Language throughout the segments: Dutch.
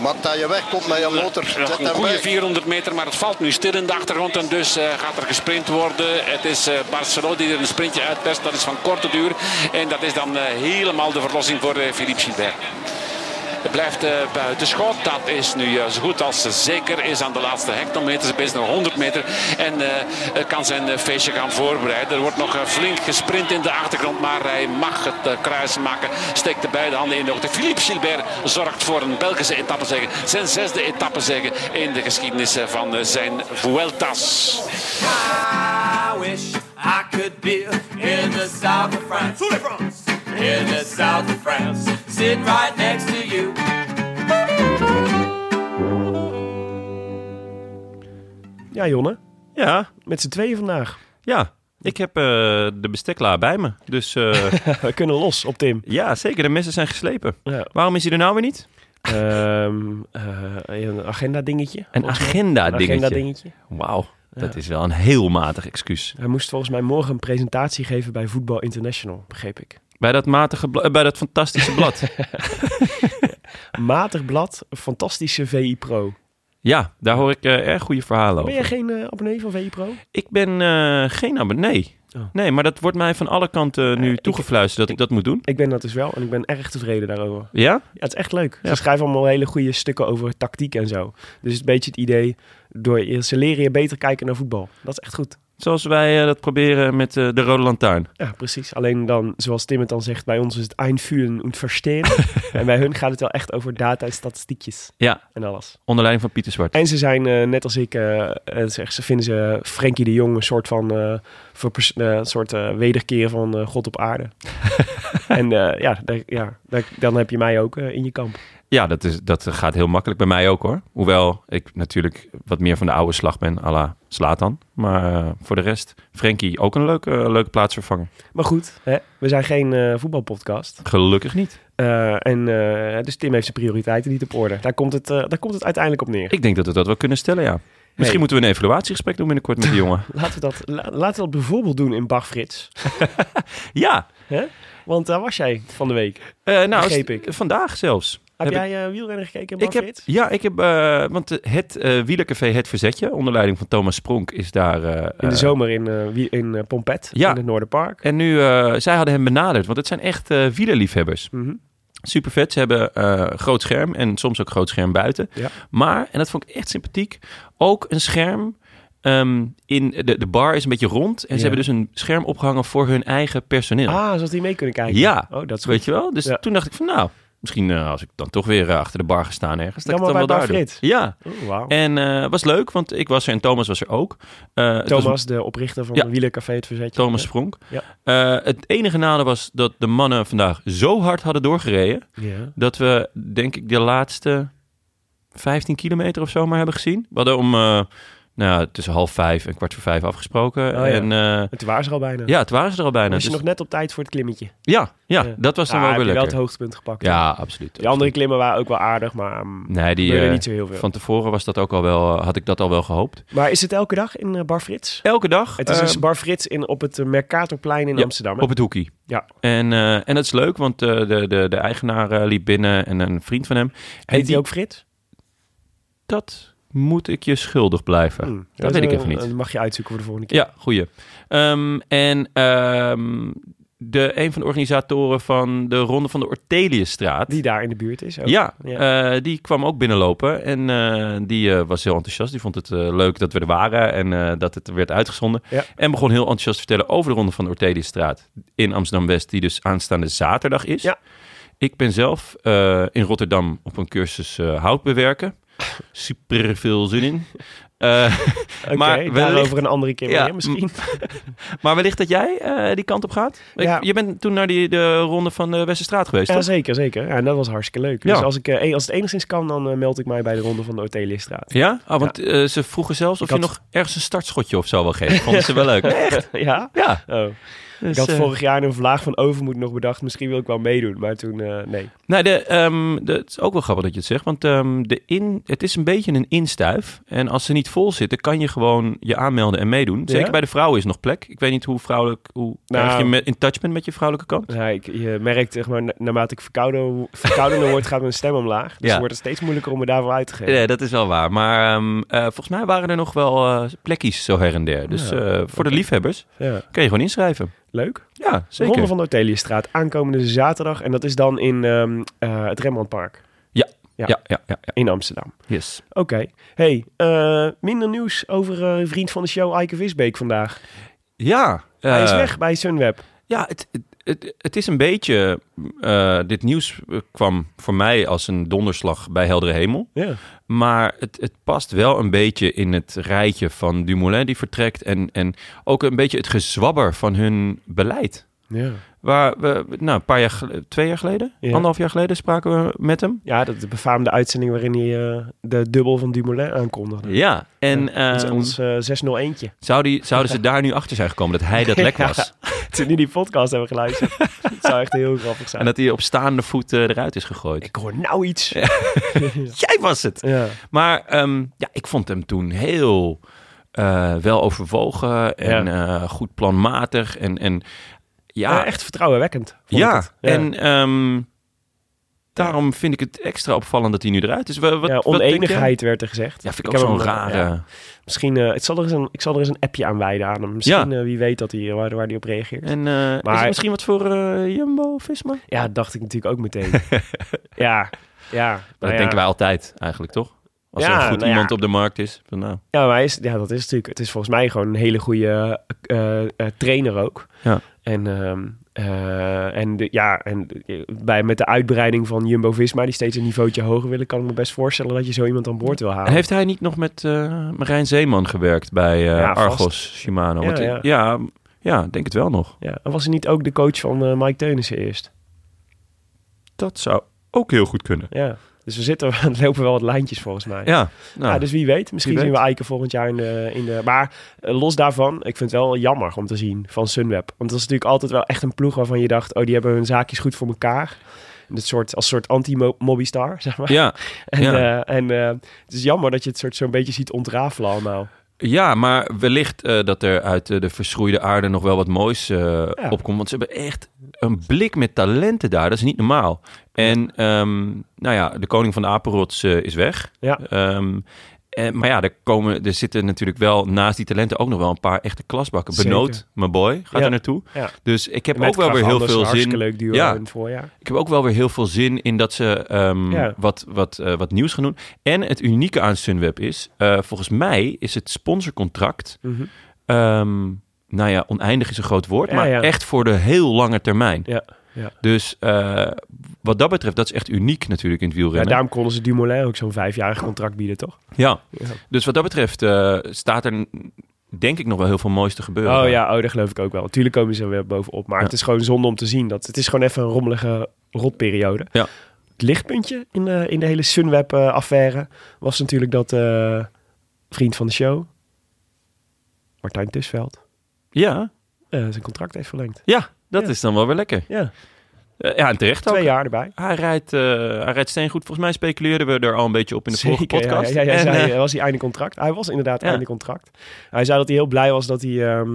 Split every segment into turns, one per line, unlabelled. Maar dat je wegkomt met je motor,
Nog
zet
een
hem
goede
weg.
400 meter, maar het valt nu stil in de achtergrond en dus eh, gaat er gesprint worden. Het is eh Barcelona die er een sprintje uitperst, dat is van korte duur. En dat is dan eh, helemaal de verlossing voor eh, Philippe Gilbert. Het blijft eh buitenschot, dat is nu eh, zo goed als eh, zeker is aan de laatste hectometer. Ze bezig nog 100 meter en eh, eh, kan zijn eh, feestje gaan voorbereiden. Er wordt nog eh, flink gesprint in de achtergrond, maar hij mag het eh, kruis maken. Steekt de beide handen in de hoogte. Philippe Gilbert zorgt voor een Belgische etappezege, zijn zesde etappezege in de geschiedenis eh, van eh, zijn Vueltas.
I wish I could be in the south of France. In the south of France. Sitting right next to you.
Ja, Jonne,
Ja,
met z'n tweeën vandaag.
ja. Ik heb eh, de besteklaar bij me. Dus eh,
We kunnen los op Tim.
ja, zeker. De messen zijn geslepen.
Ja.
Waarom is hij er nou weer niet?
Ehm, eh, een agenda dingetje.
Een agenda
agenda
dingetje.
dingetje.
Wauw, dat is wel een heel matig excuus.
Hij moest volgens mij morgen een presentatie geven bij Voetbal International, begreep ik.
Bij dat matige, bla- eh, bij dat fantastische blad.
Matig blad, een fantastische VI Pro.
ja, daar hoor ik eh, erg goede verhalen over.
Ben jij geen eh, abonnee van VI Pro?
Ik ben eh, geen abonnee.
Oh.
Nee, maar dat wordt mij van alle kanten nu
Eh, ik-
toegefluisterd dat ik dat moet doen.
Ik ben dat dus wel en ik ben erg tevreden daarover.
Ja?
Ja, het is echt leuk. Ze schrijven allemaal hele goede stukken over tactiek en zo. Dus het is een beetje het idee, door je- ze leren je beter kijken naar voetbal. Dat is echt goed.
Zoals wij eh, dat proberen met eh, de Rode Lantaarn.
Ja, precies. Alleen dan, zoals Tim het dan zegt, bij ons is het einfühlen und verstehen. en bij hun gaat het wel echt over data en statistiekjes
Ja,
en alles.
onder leiding van Pieter Zwart.
En ze zijn, eh, net als ik, eh, eh, zeg, ze vinden ze Frenkie de Jong een soort van eh, verpers- eh, een soort eh, wederkeer van eh, God op aarde. en eh, ja, daar, ja daar- dan heb je mij ook eh, in je kamp.
Ja, dat, is, dat gaat heel makkelijk bij mij ook hoor. Hoewel ik natuurlijk wat meer van de oude slag ben, à la Slatan. Maar eh, voor de rest, Frenkie ook een leuke, leuke eh, plaatsvervanger.
Maar goed, hè, we zijn geen eh, voetbalpodcast.
Gelukkig niet.
Eh, Eh, en, eh, dus Tim heeft zijn prioriteiten niet op orde. Daar komt het, eh, daar komt het uiteindelijk op neer.
Ik denk dat we dat wel kunnen stellen, ja. Misschien
Nee.
moeten we een evaluatiegesprek doen binnenkort met die jongen.
Laten we dat, la- laten we dat bijvoorbeeld doen in Bach Frits.
Ja,
Hè? Want daar was jij van de week. Heb,
eh, nou,
Begreep
st- vandaag zelfs. Heb
jij eh, wielrennen gekeken
Ik
in Bach
heb,
Frits?
ja, ik heb, eh, want eh, het eh wielercafé Het Verzetje, onder leiding van Thomas Spronk, is daar... eh,
In de
eh,
zomer in, eh, wie- in eh, Pompet,
Ja.
in het Noorderpark.
En nu, eh, zij hadden hem benaderd, want het zijn echt eh wielerliefhebbers.
Mhm.
Super vet, ze hebben eh, groot scherm en soms ook groot scherm buiten.
Ja.
Maar, en dat vond ik echt sympathiek, ook een scherm ehm, in... De, de bar is een beetje rond en ze
Ja.
hebben dus een scherm opgehangen voor hun eigen personeel.
Ah, zodat die mee kunnen kijken.
Ja.
Oh, dat is goed.
Weet je wel? Dus
Ja.
toen dacht ik van nou, misschien eh, als ik dan toch weer eh, achter de bar ga staan ergens, dat
Ja,
ik het
maar
dan wel daar
bij Bar
doe.
Frits.
Ja,
Oh, wauw.
en eh was leuk, want ik was er en Thomas was er ook. Eh, het was
Thomas, de oprichter van
Ja.
de Wielercafé Het Verzetje.
Thomas Spronk.
Ja.
Eh, het enige nadeel was dat de mannen vandaag zo hard hadden doorgereden,
Ja.
dat we denk ik de laatste 15 kilometer of zo maar hebben gezien. We hadden om eh, nou, ja, tussen half vijf en kwart voor vijf afgesproken.
Oh, ja.
En eh,
Het waren ze al bijna.
ja, het waren ze er al bijna.
was je
Dus-
nog net op tijd voor het klimmetje?
ja, ja,
Ja.
dat was dan
Ah,
wel
heb
weer
je wel het
lekker.
hoogtepunt gepakt.
ja, absoluut.
De andere klimmen waren ook wel aardig, maar... mm,
Nee, die,
gebeurde
eh,
niet zo heel veel.
van tevoren was dat ook al wel, eh, had ik dat al wel gehoopt.
Maar is het elke dag in eh, Bar Frits?
Elke dag.
Het is
eh,
een Bar Frits in, op het eh, Mercatorplein in
ja,
Amsterdam. hè?
Op het hoekie.
Ja.
En, eh, en dat is leuk, want eh, de, de, de eigenaar eh, liep binnen en een vriend van hem. en
Heet die ook Frits?
Dat moet ik je schuldig blijven.
Hm,
dat weet ik
eh,
even niet.
Dat mag je uitzoeken voor de volgende keer.
Ja, goeie. Ehm, en ehm, de, een van de organisatoren van de Ronde van de Orteliusstraat.
Die daar in de buurt is. ook.
Ja,
Ja.
eh, die kwam ook binnenlopen en eh, die eh, was heel enthousiast. Die vond het eh, leuk dat we er waren en eh, dat het werd uitgezonden.
Ja.
En begon heel enthousiast te vertellen over de Ronde van de Orteliusstraat in Amsterdam-West, die dus aanstaande zaterdag is.
Ja.
Ik ben zelf eh, in Rotterdam op een cursus eh, hout bewerken. Super veel zin in. Eh,
Oké,
maar wellicht-
daarover een andere keer
Ja,
meer misschien.
maar wellicht dat jij eh, die kant op gaat. Ik-
Ja.
je bent toen naar die, de ronde van de Westerstraat geweest,
Ja,
toch?
zeker, zeker. Ja, en dat was hartstikke leuk.
Ja.
Dus als, ik, eh, eh, als het enigszins kan, dan eh, meld ik mij bij de Ronde van de Orteliusstraat.
Ja? Ah, want eh, ze vroegen zelfs of
Ik
je
had-
nog ergens een startschotje of zo wil geven. Vonden ze wel leuk. Nee, echt?
ja?
Ja.
Oh.
Dus,
Ik had
eh,
vorig jaar een vlaag van Overmoed nog bedacht. Misschien wil ik wel meedoen, maar toen eh, nee.
Nee, de, ehm, de- het is ook wel grappig dat je het zegt. Want ehm, de in, het is een beetje een instuif. En als ze niet vol zitten, kan je gewoon je aanmelden en meedoen. Zeker
Ja?
bij de vrouwen is nog plek. Ik weet niet hoe vrouwelijk... Hoe
Nou.
erg je met, in touch bent met je vrouwelijke kant.
Ja, ik, je merkt, zeg maar, na- naarmate ik verkouden, verkoudener word, gaat mijn stem omlaag. Dus
Ja.
het wordt het steeds moeilijker om me daarvoor uit te geven.
Nee, dat is wel waar. Maar ehm, eh, volgens mij waren er nog wel eh, plekjes zo her en der. Dus
Ja,
eh, voor de liefhebbers
Ja.
kun je gewoon inschrijven.
Leuk.
Ja,
De
zeker.
Ronde van de Orteliusstraat, aankomende zaterdag. En dat is dan in ehm, eh, het Rembrandtpark
Ja.
Ja.
Ja, ja, ja. ja,
in Amsterdam.
Yes.
Oké. Hey, eh, minder nieuws over eh, een vriend van de show, Eike Visbeek, vandaag.
Ja.
Hij is
eh,
weg bij Sunweb.
Ja, het, het, het, het is een beetje... eh, dit nieuws eh, kwam voor mij als een donderslag bij heldere hemel.
Ja.
Maar het, het past wel een beetje in het rijtje van Dumoulin die vertrekt. En, en ook een beetje het gezwabber van hun beleid.
Ja.
Waar we, nou, een paar jaar, gel- twee jaar geleden,
Ja.
anderhalf jaar geleden spraken we met hem.
ja, dat befaamde uitzending waarin hij eh, de dubbel van Dumoulin aankondigde.
Ja, en
dat is
ehm,
ons eh 601'tje.
zou die, zouden ze daar nu achter zijn gekomen dat hij dat lek was?
Toen die die podcast hebben geluisterd. dat zou echt heel grappig zijn.
En dat hij op staande voet eh, eruit is gegooid.
Ik hoor nou iets. Ja.
Jij was het! Maar ehm, ja, ik vond hem toen heel eh, wel overwogen en eh, goed planmatig. En, en ja,
Eh, echt vertrouwenwekkend. vond ik
Ja,
het.
en ehm, daarom vind ik het extra opvallend dat hij nu eruit is. Wa- Wat,
ja,
wat denk jij?
oneenigheid werd er gezegd.
ja, vind ik,
heb
ook zo'n
hem, eh,
rare...
ja. Misschien, eh, het zal er eens een, ik zal er eens een appje aan wijden aan hem. Misschien, eh, wie weet dat hij, eh, waar, waar hij op reageert.
En eh,
Maar- Nou
is het misschien wat voor eh, Jumbo, Visma? Maar
Ja, dat dacht ik natuurlijk ook meteen. ja, ja. nou
dat
ja.
denken wij altijd eigenlijk, toch? Als
Ja,
er goed
nou ja.
iemand op de markt is. Van, nou,
Ja, maar hij is, ja, dat is natuurlijk. Het is volgens mij gewoon een hele goede eh, eh, trainer ook.
Ja.
En, ehm, eh, en de, ja, en de- bij, met de uitbreiding van Jumbo Visma, die steeds een niveautje hoger willen, kan ik me best voorstellen dat je zo iemand aan boord wil halen.
En heeft hij niet nog met eh, Marijn Zeeman gewerkt bij eh,
Ja, vast.
Argos Shimano?
Ja,
Want, eh,
ja.
ja, ja, denk het wel nog.
Ja, en was hij niet ook de coach van eh, Mike Teunissen eerst?
Dat zou ook heel goed kunnen.
Ja. Dus we zitten, we lopen wel wat lijntjes volgens mij.
Ja, nou,
Ja, dus wie weet. Misschien
Wie weet.
zien we Eiken volgend jaar in de... In de maar eh, los daarvan, ik vind het wel jammer om te zien van Sunweb. Want dat is natuurlijk altijd wel echt een ploeg waarvan je dacht... oh, die hebben hun zaakjes goed voor elkaar. dit soort, als soort anti-mobbystar, zeg maar.
Ja,
En,
ja.
eh, en eh, het is jammer dat je het soort zo'n beetje ziet ontrafelen allemaal.
ja, maar wellicht eh, dat er uit eh, de verschroeide aarde nog wel wat moois eh, opkomt. Want ze hebben echt een blik met talenten daar. Dat is niet normaal. En ehm, nou ja, de koning van de apenrots eh, is weg.
Ja.
Ehm, en, maar ja, er, komen, er zitten natuurlijk wel naast die talenten ook nog wel een paar echte klasbakken.
Zeker.
Benoot, mijn boy, gaat
Ja.
er naartoe.
Ja.
Dus ik heb
Met
ook wel
Graf
weer heel
Anders,
veel
een
zin.
Hartstikke leuk duo
Ja.
in het voorjaar.
Ik heb ook wel weer heel veel zin in dat ze ehm,
Ja.
wat, wat, eh, wat nieuws gaan doen. En het unieke aan Sunweb is, eh, volgens mij is het sponsorcontract,
Mhm.
ehm, nou ja, oneindig is een groot woord,
Ja,
maar
ja.
echt voor de heel lange termijn.
Ja, ja.
Dus eh, wat dat betreft, dat is echt uniek natuurlijk in het
ja,
wielrennen.
daarom konden ze Dumoulin ook zo'n vijfjarig contract bieden, toch?
Ja,
Ja.
dus wat dat betreft eh, staat er denk ik nog wel heel veel moois te gebeuren.
Oh ja, oh, dat geloof ik ook wel. Natuurlijk komen ze er weer bovenop. Maar
Ja.
het is gewoon zonde om te zien. Dat, het is gewoon even een rommelige rotperiode.
Ja.
Het lichtpuntje in, eh, in de hele Sunweb-affaire was natuurlijk dat eh, vriend van de show, Martijn Tusveld,
Ja,
eh, zijn contract heeft verlengd.
ja dat
Ja.
is dan wel weer lekker.
Ja,
Eh, ja, en terecht ook.
twee jaar erbij.
Hij rijdt, eh hij rijdt steengoed. Volgens mij speculeerden we er al een beetje op in de vorige
Zeker, ja,
podcast.
Ja, ja,
En,
hij zei,
eh,
was hij einde contract. Hij was inderdaad
Ja.
einde contract. Hij zei dat hij heel blij was dat, hij, ehm,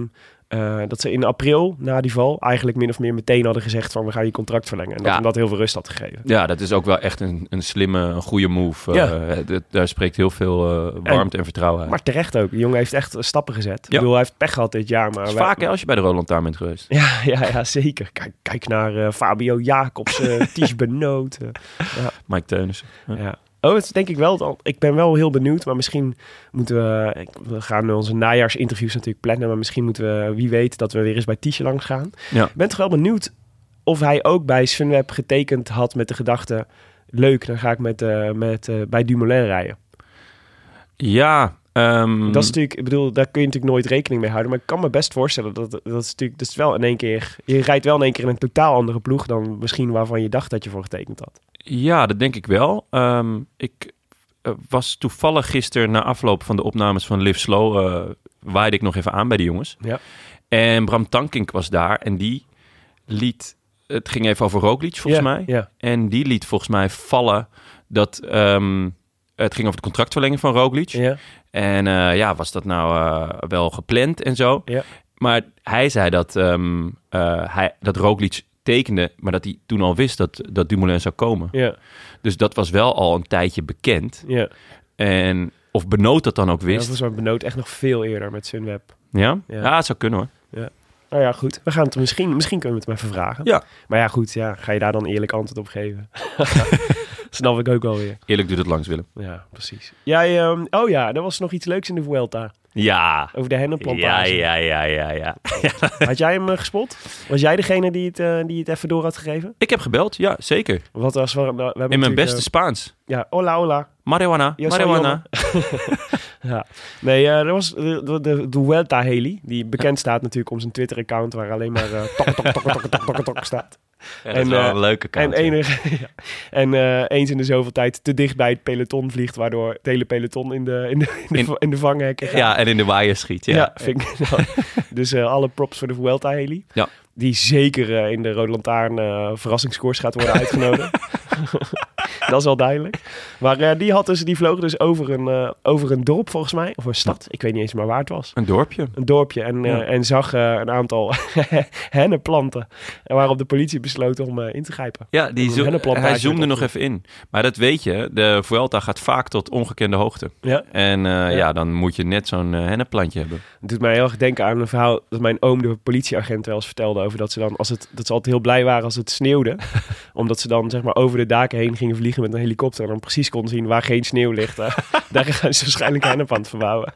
eh, dat ze in april, na die val, eigenlijk min of meer meteen hadden gezegd van we gaan je contract verlengen. En dat
Ja.
hem dat heel veel rust had gegeven.
ja, dat is ook wel echt een, een slimme, een goede move.
Ja.
Eh, dat- daar spreekt heel veel eh, warmte en, vertrouwen uit.
Maar terecht ook. De jongen heeft echt stappen gezet. Ik
Ja.
bedoel, hij heeft pech gehad dit jaar. Maar
Dat is
wij-
vaak hè, als je bij de Roland daar bent geweest.
Ja, ja, ja, zeker. Kijk, kijk naar eh, Fabio Jacobs, eh Ties Benoot. eh.
Mike Teunissen. Ja.
ja. Oh, het is denk ik wel. het- Ik ben wel heel benieuwd. Maar misschien moeten we... ik- We gaan onze najaarsinterviews natuurlijk plannen. Maar misschien moeten we, wie weet, dat we weer eens bij Tiesje langs gaan.
Ja.
Ik ben toch wel benieuwd of hij ook bij Sunweb getekend had met de gedachte... Leuk, dan ga ik met, eh, met, eh, bij Dumoulin rijden.
Ja, ehm,
Dat is natuurlijk, ik bedoel, daar kun je natuurlijk nooit rekening mee houden. Maar ik kan me best voorstellen dat dat is natuurlijk, dat is wel in één keer. Je rijdt wel in één keer in een totaal andere ploeg dan misschien waarvan je dacht dat je voor getekend had.
ja, dat denk ik wel. Ehm, ik eh, was toevallig gisteren na afloop van de opnames van Live Slow... eh, waaide ik nog even aan bij de jongens.
Ja.
En Bram Tankink was daar en die liet... Het ging even over Roglic volgens
Ja,
mij.
Ja.
En die liet volgens mij vallen dat ehm, het ging over de contractverlenging van Roglic.
Ja.
En eh, ja, was dat nou eh, wel gepland en zo.
Ja.
Maar hij zei dat, ehm, eh, hij, dat Roglic tekende, maar dat hij toen al wist dat, dat Dumoulin zou komen.
Ja.
Dus dat was wel al een tijdje bekend.
Ja.
En of Benoot dat dan ook
Ja,
wist.
Volgens mij benoot echt nog veel eerder met Sunweb.
Ja,
Ja.
ja? het zou kunnen hoor.
Nou ja, goed. We gaan het er misschien, misschien kunnen we het maar even vragen.
Ja.
Maar ja, goed. Ja, ga je daar dan eerlijk antwoord op geven? Snap ik ook wel weer.
Eerlijk doet het langs, Willem.
Ja, precies. Jij, ehm, oh ja, er was nog iets leuks in de Vuelta.
Ja.
Over de
Ja,
hennenplantage.
ja, ja, ja, ja.
Had jij hem eh, gespot? Was jij degene die het, eh, die het even door had gegeven?
Ik heb gebeld, ja, zeker.
Wat was we, we hebben
In mijn
natuurlijk,
beste
eh,
Spaans.
ja, hola, hola.
Marihuana,
Ja, sorry,
marihuana.
Ja. Nee, eh, er was de, de, de Duelta Haley, die bekend staat natuurlijk om zijn Twitter-account, waar alleen maar eh, tok, tok, tok, tok, tok, tok, tok staat.
Ja,
En, eh,
leuke
En,
ja.
enig, ja. en eh, eens in de zoveel tijd te dicht bij het peloton vliegt, waardoor het hele peloton in de, in de, in de,
In-
va- in de vanghekken gaat.
Ja, en in de waaier schiet. Ja.
Ja, vind ik wel. Dus eh, alle props voor de Vuelta Haley.
Ja.
Die zeker eh, in de Rode Lantaarn eh verrassingscours gaat worden uitgenodigd. dat is wel duidelijk. Maar eh, die, had dus, die vloog dus over een, eh, over een dorp volgens mij. Of een stad. Ik weet niet eens meer waar het was.
Een dorpje.
Een dorpje. En, eh,
Ja.
en zag eh, een aantal hennenplanten. En waarop de politie besloot om eh, in te grijpen.
Ja, die
Een
zo-
hennenplantage
hij zoomde
met
nog even in. Maar dat weet je, de Vuelta gaat vaak tot ongekende hoogte.
Ja.
En eh, ja. dan moet je net zo'n eh, hennenplantje hebben.
Het doet mij heel erg denken aan een verhaal dat mijn oom de politieagent wel eens vertelde over dat ze dan als het dat ze altijd heel blij waren als het sneeuwde, omdat ze dan zeg maar over de daken heen gingen vliegen met een helikopter en dan precies konden zien waar geen sneeuw ligt. Eh, daar gaan ze waarschijnlijk een hennepand verbouwen.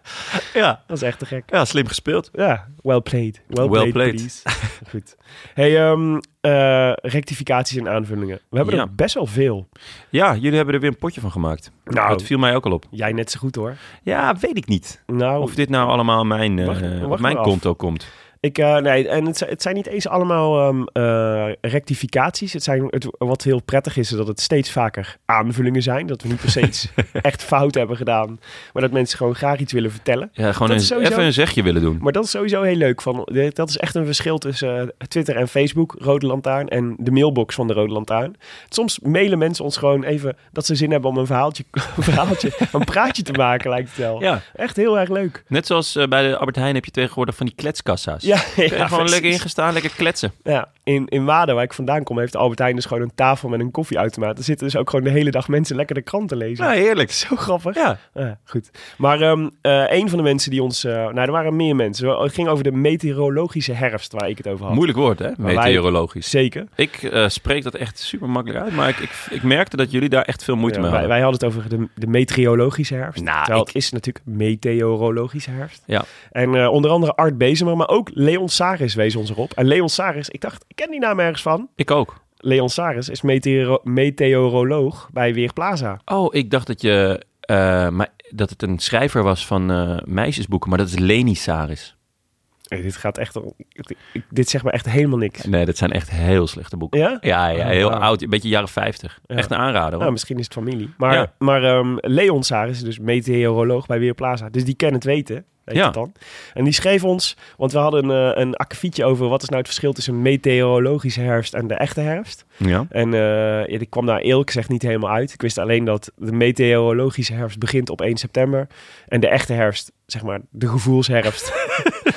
Ja,
Dat is echt te gek.
ja slim gespeeld.
Ja, well played. Well,
Well played.
please. Goed. Hey, ehm, eh, rectificaties en aanvullingen. We hebben
Ja.
er best wel veel.
Ja, jullie hebben er weer een potje van gemaakt.
Nou.
Dat viel mij ook al op.
Jij net zo goed hoor.
Ja, weet ik niet.
Nou,
Of dit nou allemaal mijn, eh,
Wacht- wacht
op mijn
maar af.
konto komt.
Ik, eh, nee, en het, zi- het zijn niet eens allemaal ehm, eh, rectificaties. Het zijn, het, wat heel prettig is, is dat het steeds vaker aanvullingen zijn. Dat we niet per se iets echt fout hebben gedaan. Maar dat mensen gewoon graag iets willen vertellen.
Ja, gewoon
Dat
een,
is sowieso-
even een zegje willen doen.
Maar dat is sowieso heel leuk. Van, eh, dat is echt een verschil tussen eh, Twitter en Facebook, Rode Lantaarn, en de mailbox van de Rode Lantaarn. Soms mailen mensen ons gewoon even dat ze zin hebben om een verhaaltje, een, verhaaltje een praatje te maken, lijkt het wel.
Ja,
Echt heel erg leuk.
net zoals eh, bij de Albert Heijn heb je tegenwoordig van die kletskassa's.
Ja, ja,
Kun je gewoon
precies.
lekker ingestaan, lekker kletsen.
Ja, in, in Waden, waar ik vandaan kom, heeft Albert Heijn dus gewoon een tafel met een koffieautomaat. Er zitten dus ook gewoon de hele dag mensen lekker de krant te lezen.
heerlijk.
Zo grappig.
Ja,
Ah, goed. Maar ehm eh, een van de mensen die ons... eh, nou, er waren meer mensen. Het ging over de meteorologische herfst, waar ik het over had.
moeilijk woord hè,
wij-
meteorologisch.
Zeker.
Ik eh, spreek dat echt super makkelijk uit, maar ik, ik, ik merkte dat jullie daar echt veel moeite
Ja,
mee
wij,
hadden.
wij hadden het over de, de meteorologische herfst.
Nou,
terwijl
ik-
het is natuurlijk meteorologische herfst.
Ja.
En eh, onder andere Art Bezemer, maar ook Leon Saris wees ons erop. En Leon Saris, ik dacht, ik ken die naam ergens van.
Ik ook.
Leon Saris is meteoro- meteoroloog bij Weerplaza.
Oh, ik dacht dat, je, eh, maar, dat het een schrijver was van eh, meisjesboeken, maar dat is Leni Saris.
Hey, dit gaat echt... om- ik- Dit zegt me echt helemaal niks.
Nee, dat zijn echt heel slechte boeken.
Ja? Ah,
Ja, ja, heel
wauw.
oud. Een beetje jaren 50. Echt een aanrader.
Nou,
Hoor.
misschien is het familie. Maar,
Ja.
maar ehm, Leon Saris is dus meteoroloog bij Weerplaza. Dus die kan het weten. Weet
Ja.
het dan. En die schreef ons, want we hadden een, eh, een akkefietje over wat is nou het verschil tussen meteorologische herfst en de echte herfst.
ja.
En eh, ja, ik kwam daar eerlijk gezegd niet helemaal uit. Ik wist alleen dat de meteorologische herfst begint op 1 september. En de echte herfst, zeg maar, de gevoelsherfst,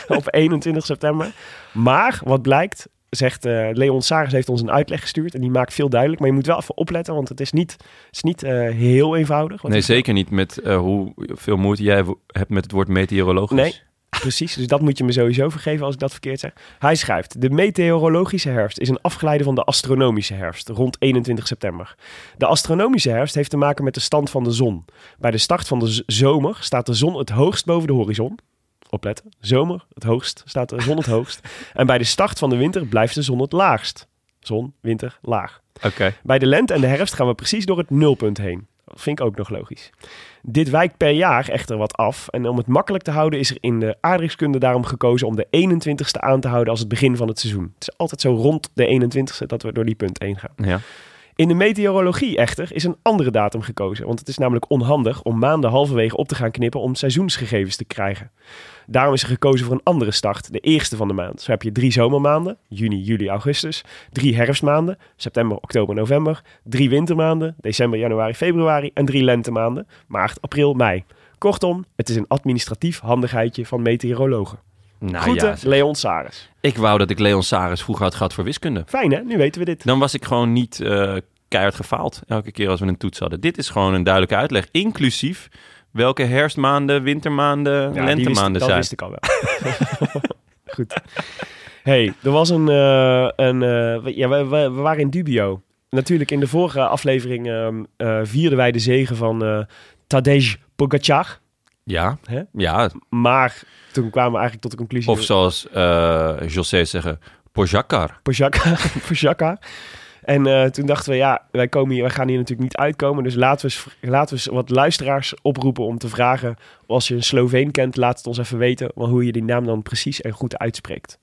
op 21 september. Maar wat blijkt, zegt eh, Leon Saris heeft ons een uitleg gestuurd. En die maakt veel duidelijk. Maar je moet wel even opletten, want het is niet, het is niet eh, heel eenvoudig. Wat
Nee,
is-
zeker niet met eh, hoe veel moeite jij wo- hebt met het woord meteorologisch.
Nee. Precies, dus dat moet je me sowieso vergeven als ik dat verkeerd zeg. Hij schrijft, de meteorologische herfst is een afgeleide van de astronomische herfst, rond 21 september. De astronomische herfst heeft te maken met de stand van de zon. Bij de start van de z- zomer staat de zon het hoogst boven de horizon. Opletten, zomer het hoogst, staat de zon het hoogst. En bij de start van de winter blijft de zon het laagst. Zon, winter, laag.
Oké.
Bij de lente en de herfst gaan we precies door het nulpunt heen. Dat vind ik ook nog logisch. Dit wijkt per jaar echter wat af. En om het makkelijk te houden is er in de aardrijkskunde daarom gekozen om de 21ste aan te houden als het begin van het seizoen. Het is altijd zo rond de 21ste dat we door die punt heen gaan.
Ja.
In de meteorologie echter is een andere datum gekozen. Want het is namelijk onhandig om maanden halverwege op te gaan knippen om seizoensgegevens te krijgen. Daarom is er gekozen voor een andere start, de eerste van de maand. Zo heb je drie zomermaanden, juni, juli, augustus. Drie herfstmaanden, september, oktober, november. Drie wintermaanden, december, januari, februari. En drie lentemaanden, maart, april, mei. Kortom, het is een administratief handigheidje van meteorologen.
Nou
Groeten,
ja, zeg.
Leon Saris.
ik wou dat ik Leon Saris vroeger had gehad voor wiskunde.
Fijn hè, nu weten we dit.
Dan was ik gewoon niet eh, keihard gefaald elke keer als we een toets hadden. Dit is gewoon een duidelijke uitleg, inclusief welke herfstmaanden, wintermaanden,
Ja, die wist-
lentemaanden
Dat
zijn.
wist ik al wel. Goed. hey, er was een... eh, een eh, we- ja, we, we, we waren in dubio. Natuurlijk, in de vorige aflevering ehm, eh, vierden wij de zegen van eh Tadej Pogacar.
Ja,
Hè?
ja,
Maar toen kwamen we eigenlijk tot de conclusie...
of zoals eh José zeggen, Pojakar.
Pogacar. Pogacar. En eh, toen dachten we, ja, wij, komen hier, wij gaan hier natuurlijk niet uitkomen. Dus laten we, eens- laten we eens wat luisteraars oproepen om te vragen... als je een Sloveen kent, laat het ons even weten... wel hoe je die naam dan precies en goed uitspreekt.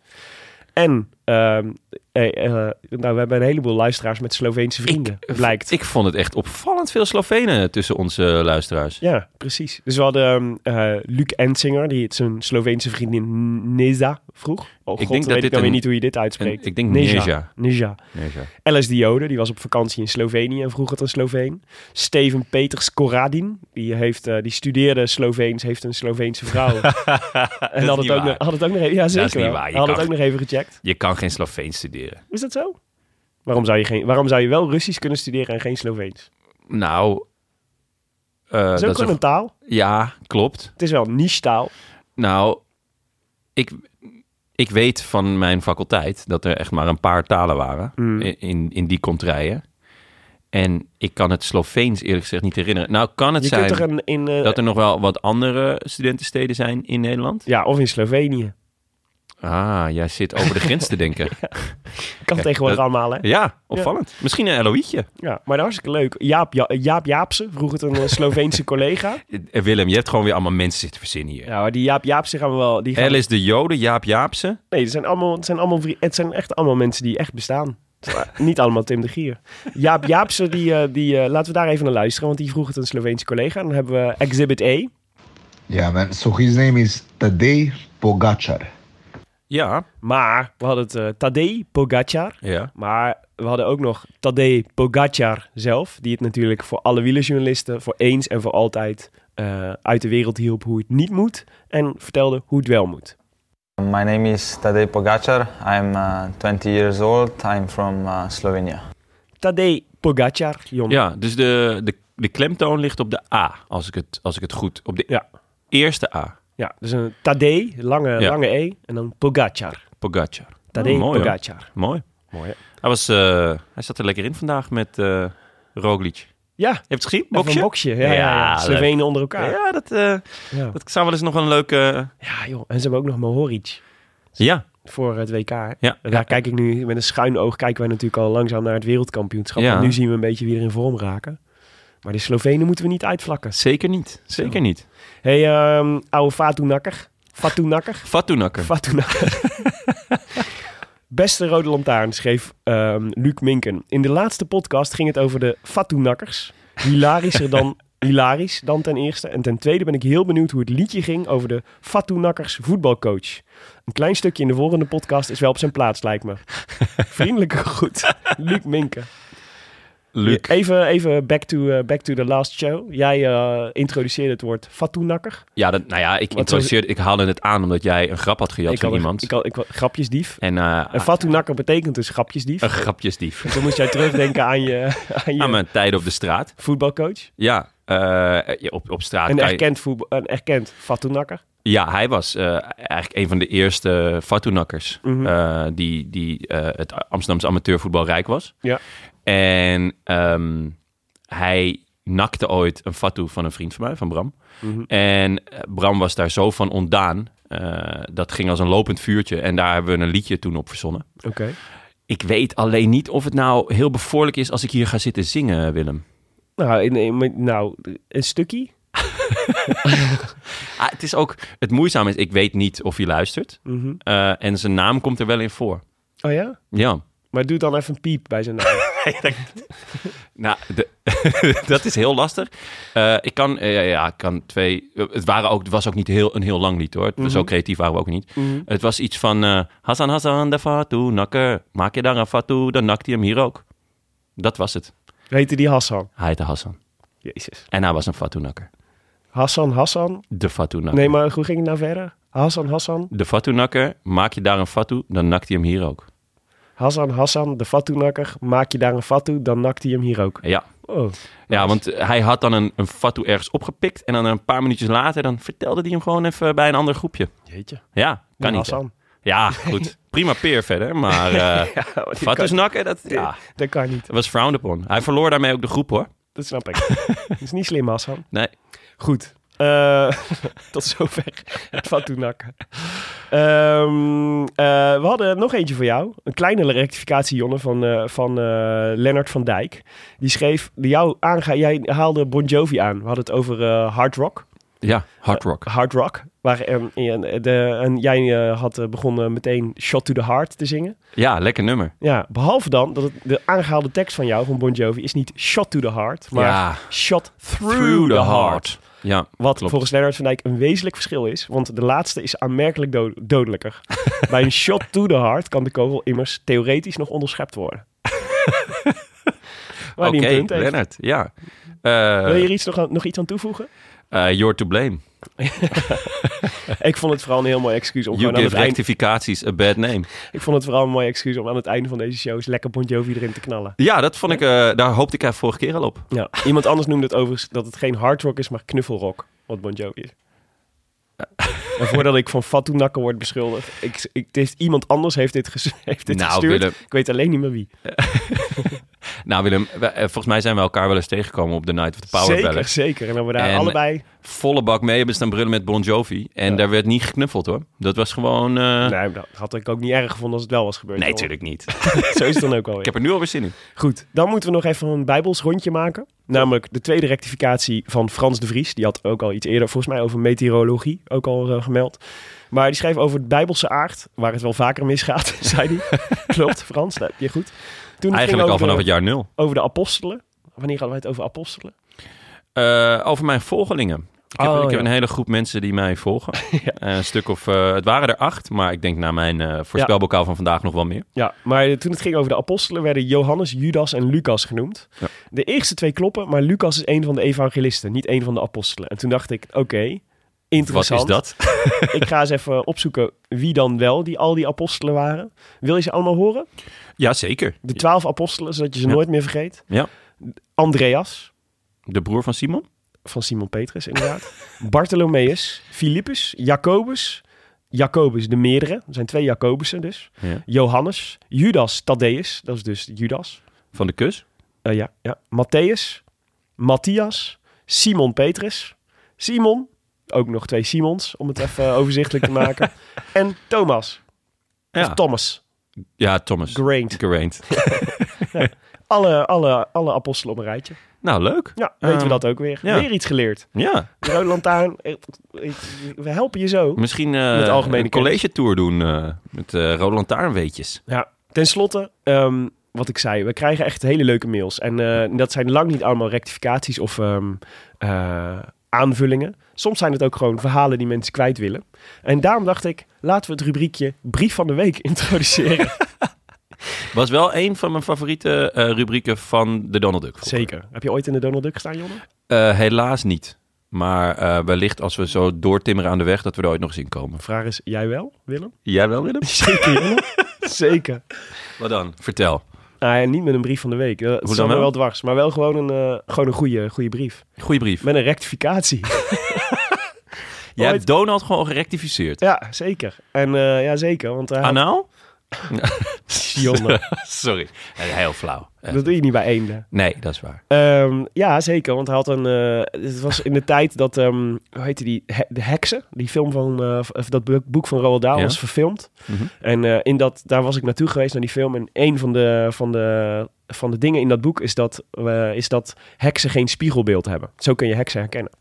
En, ehm, eh, eh, nou, we hebben een heleboel luisteraars met Sloveense vrienden, blijkt.
Ik vond het echt opvallend veel Slovenen tussen onze luisteraars.
Ja, precies. Dus we hadden ehm, eh, Luc Ensinger, die het zijn Sloveense vriendin Neza vroeg. Oh
Ik
god,
denk
dan
dat
weet
dit
ik nou weer
een-
niet hoe je dit uitspreekt.
een- ik denk Neza.
Neza.
Nee, zo.
LS Diode, die was op vakantie in Slovenië en vroeg het een Sloveen. Steven Peters Koradin, die, heeft, eh, die studeerde Sloveens, heeft een Sloveense vrouw. en had
niet
het, ook
waar.
nog, had het ook nog even, ja zeker
niet
wel.
waar, je
Had het
kan-
ook nog even gecheckt.
Je kan geen Sloveen studeren.
Is dat zo? Waarom zou je, geen, waarom zou je wel Russisch kunnen studeren en geen Sloveens?
Nou, eh,
Dat is ook
dat is
gewoon een taal.
een- ja, klopt.
Het is wel een niche taal.
Nou, ik, ik weet van mijn faculteit dat er echt maar een paar talen waren i- in, in die kontrijen. En ik kan het Sloveens eerlijk gezegd niet herinneren. Nou, kan het
Je
zijn
kunt toch een, in, eh,
dat er nog wel wat andere studentensteden zijn in Nederland?
Ja, of in Slovenië.
Ah, jij zit over de grens te denken.
Kan
Kijk,
tegenwoordig
dat-
allemaal, hè?
Ja, opvallend. Misschien een Eloïtje.
Ja, maar dat is hartstikke leuk. Jaap, ja, Jaap Jaapse, vroeger het een eh, Sloveense collega.
Eh, Willem, je hebt gewoon weer allemaal mensen zitten verzinnen hier.
Ja, maar die Jaap Jaapse gaan we wel... Die gaan,
Alice de Jode, Jaap Jaapse.
nee, het zijn, allemaal, het, zijn allemaal, vri- het zijn echt allemaal mensen die echt bestaan. Het zijn, eh, Niet allemaal Tim de Gier. Jaap Jaapse, die, eh, die, eh, laten we daar even naar luisteren, want die vroeg het een Sloveense collega. Dan hebben we Exhibit A.
Yeah, man. So his name is Tadej Pogacar.
Ja,
Maar we hadden het eh Tadej Pogacar.
ja.
Maar we hadden ook nog Tadej Pogacar zelf, die het natuurlijk voor alle wielerjournalisten voor eens en voor altijd eh, uit de wereld hielp hoe het niet moet en vertelde hoe het wel moet.
My name is Tadej Pogacar. I'm uh, 20 years old. I'm from uh, Slovenia.
Tadej Pogacar, Jon.
ja dus de, de, de klemtoon ligt op de A, als ik het, als ik het goed... Op de
Ja.
eerste A,
Ja, dus een Tadej, lange,
Ja.
lange E, en dan Pogacar.
Pogacar.
Tadej
Oh, mooi, hoor.
Pogacar.
Mooi.
Mooi, hè?
Hij, was, eh, hij zat er lekker in vandaag met eh Roglic. Je
Ja,
hebt het gezien?
even
Boksje?
een boksje. Ja, ja,
Ja,
ja. Slovenen onder elkaar. Ja.
Ja, dat, eh,
Ja.
dat zou wel eens nog een leuke...
joh. En ze hebben ook nog Mohoric
Ja,
voor het WK. hè?
Ja.
En Daar kijk ik nu met een schuin oog kijken wij natuurlijk al langzaam naar het wereldkampioenschap.
Ja.
En nu zien we een beetje wie er in vorm raken. Maar de Slovenen moeten we niet uitvlakken.
zeker niet. Zeker niet.
Hey, ehm oude Fatunakker. Fatunakker.
Fatunakker.
Fatunakker. Beste Rode Lantaarn, schreef ehm, Luc Minken. In de laatste podcast ging het over de Fatunakkers. Hilarischer dan hilarisch dan ten eerste. En ten tweede ben ik heel benieuwd hoe het liedje ging over de Fatunakkers voetbalcoach. Een klein stukje in de volgende podcast is wel op zijn plaats, lijkt me. Vriendelijke groet, Luc Minken.
Luc.
Even, even back, to, eh, back to the last show. Jij eh, introduceerde het woord Fatunakker.
Ja, dat, nou ja, ik,
Wat was-
introduceerde, ik haalde het aan omdat jij een grap had gejat
had
van
een-
iemand.
Ik had, ik, had- grapjesdief.
en eh,
Een fatunakker betekent dus grapjesdief.
een grapjesdief.
Toen moest jij terugdenken aan je, aan je
Aan mijn tijden op de straat.
voetbalcoach.
Ja, eh, je- op, op straat.
Een
kan je-
erkend, voetbal, een erkend fatunakker.
Ja, hij was eh, eigenlijk een van de eerste fatunakkers eh, die, die eh, het Amsterdamse amateurvoetbal rijk was.
Ja.
En ehm, hij nakte ooit een fatu van een vriend van mij, van Bram. En eh, Bram was daar zo van ontdaan. eh, dat ging als een lopend vuurtje. En daar hebben we een liedje toen op verzonnen.
Oké.
Ik weet alleen niet of het nou heel bevorderlijk is als ik hier ga zitten zingen, Willem.
Nou, in, in- met- nou, een stukje.
Ah, het is ook, het moeizame is, ik weet niet of hij luistert. Eh, en zijn naam komt er wel in voor.
Oh ja?
Ja.
Maar doe dan even een piep bij zijn naam.
Nou, de- dat is heel lastig. Eh, ik kan, eh, ja, ik kan twee. eh, Het, waren ook, het was ook niet heel, een heel lang lied hoor.
Mhm.
Zo creatief waren we ook niet. Het was iets van. eh Hassan Hassan de Fatou nakker. Maak je daar een Fatou, dan nakt hij hem hier ook. Dat was het.
Heette die Hassan?
Hij heette Hassan.
Jezus.
En hij was een Fatou nakker.
Hassan, Hassan.
De Fatou nakker.
Nee, maar hoe ging het nou verder? Hassan, Hassan.
De Fatou nakker. Maak je daar een Fatou, dan nakt hij hem hier ook.
Hassan, Hassan, de fatunakker. Maak je daar een fatu, dan nakt hij hem hier ook.
Ja.
Oh.
Ja, want hij had dan een, een Fatou ergens opgepikt. En dan een paar minuutjes later, dan vertelde hij hem gewoon even bij een ander groepje.
Jeetje.
Ja, kan niet. hè?
Hassan.
Ja, goed. Prima peer verder, maar eh
Dat
Fatus
kan,
nakken, dat, ja,
dat kan niet.
dat was frowned upon. Hij verloor daarmee ook de groep, hoor.
Dat snap ik. Dat is niet slim, Hassan.
Nee,
Goed. Eh, tot zover het Fatounakken. Ehm eh, we hadden nog eentje voor jou. Een kleine rectificatie, Jonne, van, eh, van eh, Lennart van Dijk. Die schreef, die jou aanga jij haalde Bon Jovi aan. We hadden het over eh, hard rock.
ja, hard rock.
Hard rock. Waar, en, en, de, en jij eh, had eh, begonnen meteen Shot to the Heart te zingen.
Ja, lekker nummer.
Ja, behalve dan dat het, de aangehaalde tekst van jou, van Bon Jovi, is niet Shot to the Heart, maar
Ja.
Shot through, the heart.
Ja,
Wat
klopt.
volgens Leonard van Dijk een wezenlijk verschil is, want de laatste is aanmerkelijk do- dodelijker. Bij een shot to the heart kan de kogel immers theoretisch nog onderschept worden. Waar
Oké,
die een punt heeft.
Lennart, ja. Eh
Wil je er iets nog, aan- nog iets aan toevoegen?
eh, you're to blame.
Ik vond het vooral een heel mooi excuus om
You
gewoon aan het
give
eind,
rectificaties a bad name.
Ik vond het vooral een mooi excuus om aan het einde van deze show eens lekker Bon Jovi erin te knallen.
Ja, dat vond ik, eh, daar hoopte ik eigenlijk vorige keer al op.
Ja. Iemand anders noemde het overigens dat het geen hard rock is, maar knuffelrock. Wat Bon Jovi is. En voordat ik van Fatou Nakker word beschuldigd. Ik, ik, het is- iemand anders heeft dit, ges- heeft dit
Nou,
gestuurd.
Willem.
Ik weet alleen niet meer wie.
Nou Willem, wij- eh, volgens mij zijn we elkaar wel eens tegengekomen op de Night of the Power
zeker,
Ballad.
zeker. En dan we daar
En-
allebei
volle bak mee hebben staan brullen met Bon Jovi. En daar werd niet geknuffeld hoor. Dat was gewoon... eh,
Nee, Nou, dat had ik ook niet erg gevonden als het wel was gebeurd.
nee,
joh.
natuurlijk niet.
Zo is het dan ook alweer.
Ik heb er nu alweer zin in.
Goed, dan moeten we nog even een Bijbels rondje maken. Namelijk de tweede rectificatie van Frans de Vries. Die had ook al iets eerder, volgens mij, over meteorologie ook al eh, gemeld. Maar die schreef over de Bijbelse aard, waar het wel vaker misgaat, zei hij. Klopt, Frans, dat heb je goed. Toen het ging
Eigenlijk al
over
vanaf het
de-
jaar nul.
Over de apostelen. Wanneer hadden wij het over apostelen?
Eh, over mijn volgelingen. Ik heb,
Oh,
ik heb
ja.
een hele groep mensen die mij volgen. Eh, een stuk of... eh, het waren er acht, maar ik denk na mijn eh, voorspelbokaal van vandaag nog wel meer.
Ja, maar eh, toen het ging over de apostelen werden Johannes, Judas en Lucas genoemd.
Ja.
De eerste twee kloppen, maar Lucas is een van de evangelisten, niet een van de apostelen. En toen dacht ik, oké,
Wat
interessant.
is dat?
ik ga eens even opzoeken wie dan wel die, al die apostelen waren. Wil je ze allemaal horen?
Jazeker.
De twaalf apostelen, zodat je ze
Ja.
nooit meer vergeet.
Ja.
Andreas,
De broer van Simon?
van Simon Petrus inderdaad. Bartholomeus, Filippus, Jacobus. Jacobus de meerdere, er zijn twee Jacobussen dus.
Ja.
Johannes, Judas, Thaddeus, dat is dus Judas.
Van de kus?
Eh, ja, ja. Matthäus, Matthias, Simon Petrus, Simon, ook nog twee Simons om het even overzichtelijk te maken. En Thomas, of
Ja,
Thomas,
ja Thomas.
Graint.
Geraint.
Alle, alle, alle apostelen op een rijtje.
Nou, leuk.
Ja, weten we
Ehm,
dat ook weer.
ja.
Weer iets geleerd.
Ja.
De Rode Lantaarn, eh, eh, we helpen je zo.
Misschien eh,
Met algemene
een college tour doen eh, met eh Roland Taarnweetjes.
Ja, ten slotte, ehm, wat ik zei, we krijgen echt hele leuke mails. En eh, dat zijn lang niet allemaal rectificaties of ehm, eh, aanvullingen. Soms zijn het ook gewoon verhalen die mensen kwijt willen. En daarom dacht ik, laten we het rubriekje Brief van de Week introduceren.
Was wel een van mijn favoriete eh, rubrieken van de Donald Duck. vroeger.
Zeker. Heb je ooit in de Donald Duck gestaan, Jonne?
Eh, helaas niet. Maar eh, wellicht als we zo doortimmeren aan de weg, dat we er ooit nog eens in komen.
Vraag is, jij wel, Willem?
Jij wel, Willem?
Zeker, Jonne. Zeker.
Wat dan? Vertel.
Nou ja, niet met een brief van de week. Dat
Hoe dan
is wel?
wel?
wel dwars. Maar wel gewoon een, eh, gewoon een goede, goede brief.
Goeie brief.
Met een rectificatie.
Jij
ooit-
hebt Donald gewoon gerectificeerd.
ja, zeker. En eh, ja, zeker. Want hij had-
Anaal?
Jonne,
Sorry. Eh, Heel flauw. Eh,
dat doe je niet bij eenden.
nee, dat is waar.
Ehm, ja, zeker. Want hij had een. eh, het was in de tijd dat. ehm hoe heette die? He- de Heksen. Die film van. eh, of dat boek- boek van Roald Dahl
Ja.
was verfilmd.
Mhm.
En eh, in dat, daar was ik naartoe geweest naar die film. En een van de, van de, van de dingen in dat boek is dat, eh, is dat heksen geen spiegelbeeld hebben. Zo kun je heksen herkennen.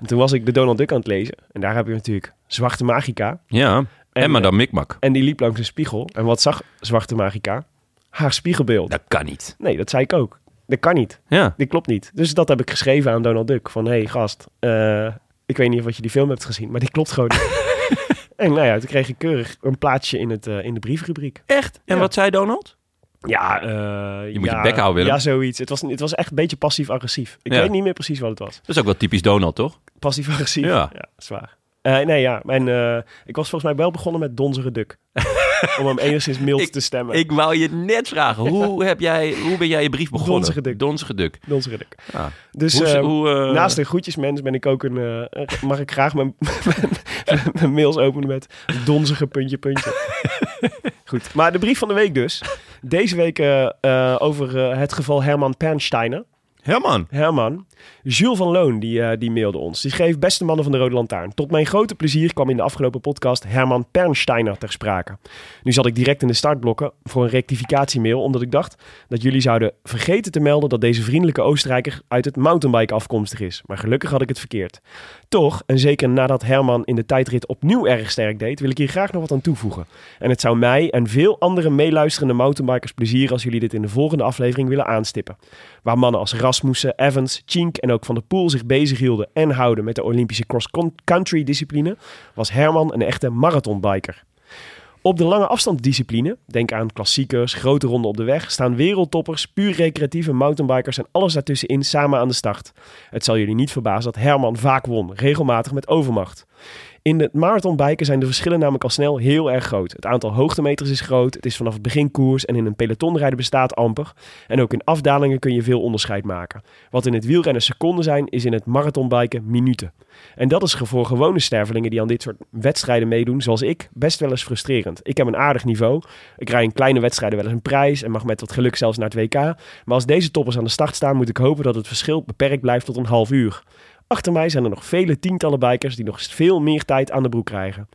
En toen was ik de Donald Duck aan het lezen. En daar heb je natuurlijk Zwarte Magica.
Ja. En,
eh,
Madame Mikmak.
En die liep langs een spiegel. En wat zag Zwarte Magica? Haar spiegelbeeld.
Dat kan niet.
Nee, dat zei ik ook. Dat kan niet.
Ja.
Dit klopt niet. Dus dat heb ik geschreven aan Donald Duck. Van, hé hey, gast, eh, ik weet niet of je die film hebt gezien, maar dit klopt gewoon niet. en nou ja, toen kreeg ik keurig een plaatsje in, het, eh, in de briefrubriek.
Echt? En
Ja.
wat zei Donald?
Ja,
Je moet je bek houden, Willem.
Ja, zoiets. Het was, het was echt een beetje passief-agressief. Ik
Ja.
weet niet meer precies wat het was.
Dat is ook wel typisch Donald, toch?
Passief-agressief.
Ja.
zwaar. Eh, nee, ja. En eh, ik was volgens mij wel begonnen met Donzere Duck. om hem enigszins mild
Ik-
te stemmen.
Ik wou je net vragen, hoe, heb jij, hoe ben jij je brief begonnen?
Donzige Duk.
Donzige Duk.
Donzere Duck.
Ja.
Dus,
hoe,
eh,
hoe, eh,
Naast de groetjesmens ben ik ook een. eh, eh, mag ik graag mijn, mijn- mijn mails openen met donzige puntje, puntje. Goed. Maar de brief van de week dus. Deze week eh, eh, over eh, het geval Herman Pernsteiner.
Herman.
Herman. Jules van Loon, die, eh, die mailde ons. Die schreef, beste mannen van de Rode Lantaarn. Tot mijn grote plezier kwam in de afgelopen podcast Herman Pernsteiner ter sprake. Nu zat ik direct in de startblokken voor een rectificatiemail, omdat ik dacht dat jullie zouden vergeten te melden dat deze vriendelijke Oostenrijker uit het mountainbike afkomstig is. Maar gelukkig had ik het verkeerd. Toch, en zeker nadat Herman in de tijdrit opnieuw erg sterk deed, wil ik hier graag nog wat aan toevoegen. En het zou mij en veel andere meeluisterende mountainbikers plezieren als jullie dit in de volgende aflevering willen aanstippen. Waar mannen als Rasmussen, Evans, Chink en ook Van der Poel zich bezighielden en houden met de Olympische cross-country discipline, was Herman een echte marathonbiker. Op de lange afstandsdiscipline, denk aan klassiekers, grote ronden op de weg, staan wereldtoppers, puur recreatieve mountainbikers en alles daartussenin samen aan de start. Het zal jullie niet verbazen dat Herman vaak won, regelmatig met overmacht. In het marathonbiken zijn de verschillen namelijk al snel heel erg groot. Het aantal hoogtemeters is groot, het is vanaf het begin koers en in een pelotonrijden bestaat amper. En ook in afdalingen kun je veel onderscheid maken. Wat in het wielrennen seconden zijn, is in het marathonbiken minuten. En dat is ge- voor gewone stervelingen die aan dit soort wedstrijden meedoen, zoals ik, best wel eens frustrerend. Ik heb een aardig niveau. Ik rij in kleine wedstrijden wel eens een prijs en mag met wat geluk zelfs naar het WK. Maar als deze toppers aan de start staan, moet ik hopen dat het verschil beperkt blijft tot een half uur. Achter mij zijn er nog vele tientallen bikers die nog veel meer tijd aan de broek krijgen.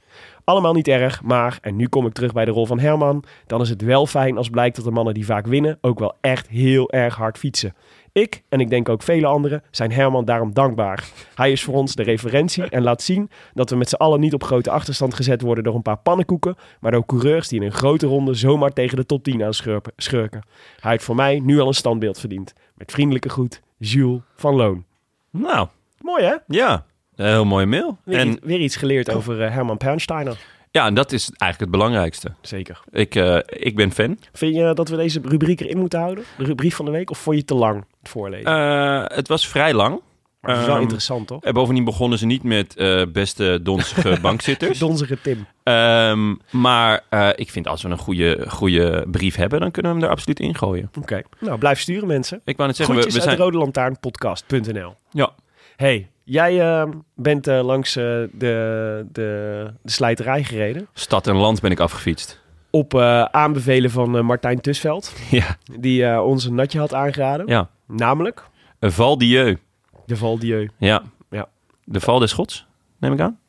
Allemaal niet erg, maar, en nu kom ik terug bij de rol van Herman, dan is het wel fijn als blijkt dat de mannen die vaak winnen ook wel echt heel erg hard fietsen. Ik, en ik denk ook vele anderen, zijn Herman daarom dankbaar. Hij is voor ons de referentie en laat zien dat we met z'n allen niet op grote achterstand gezet worden door een paar pannenkoeken, maar door coureurs die in een grote ronde zomaar tegen de top 10 aanschurpen- schurken. Hij heeft voor mij nu al een standbeeld verdiend. Met vriendelijke groet, Jules van Loon.
Nou,
Mooi hè?
ja. Een heel mooie mail.
Weer,
En Oh.
iets, weer iets geleerd over eh, Herman Pernsteiner.
ja, en dat is eigenlijk het belangrijkste.
Zeker.
Ik, eh, ik ben fan.
Vind je eh, dat we deze rubriek erin moeten houden? De rubriek van de week? Of vond je het te lang, het voorlezen?
Eh, het was vrij lang.
maar het is wel
ehm,
interessant, toch?
En bovendien begonnen ze niet met eh, beste donzige bankzitters.
Donzige Tim.
Ehm, maar eh, ik vind als we een goede, goede brief hebben, dan kunnen we hem er absoluut ingooien.
Oké. Nou, blijf sturen, mensen.
Ik wou net zeggen, we,
Groetjes
we
uit
zijn...
de Rode Lantaarnpodcast.nl.
Ja.
hey, jij eh, bent eh, langs eh, de, de, de slijterij gereden.
Stad en land ben ik afgefietst.
Op eh, aanbevelen van eh, Martijn Tusveld,
Ja.
die eh, ons een natje had aangeraden.
ja.
Namelijk
Een Val Dieu.
de Val Dieu.
Ja.
Ja.
De Val des Gods, neem ik aan.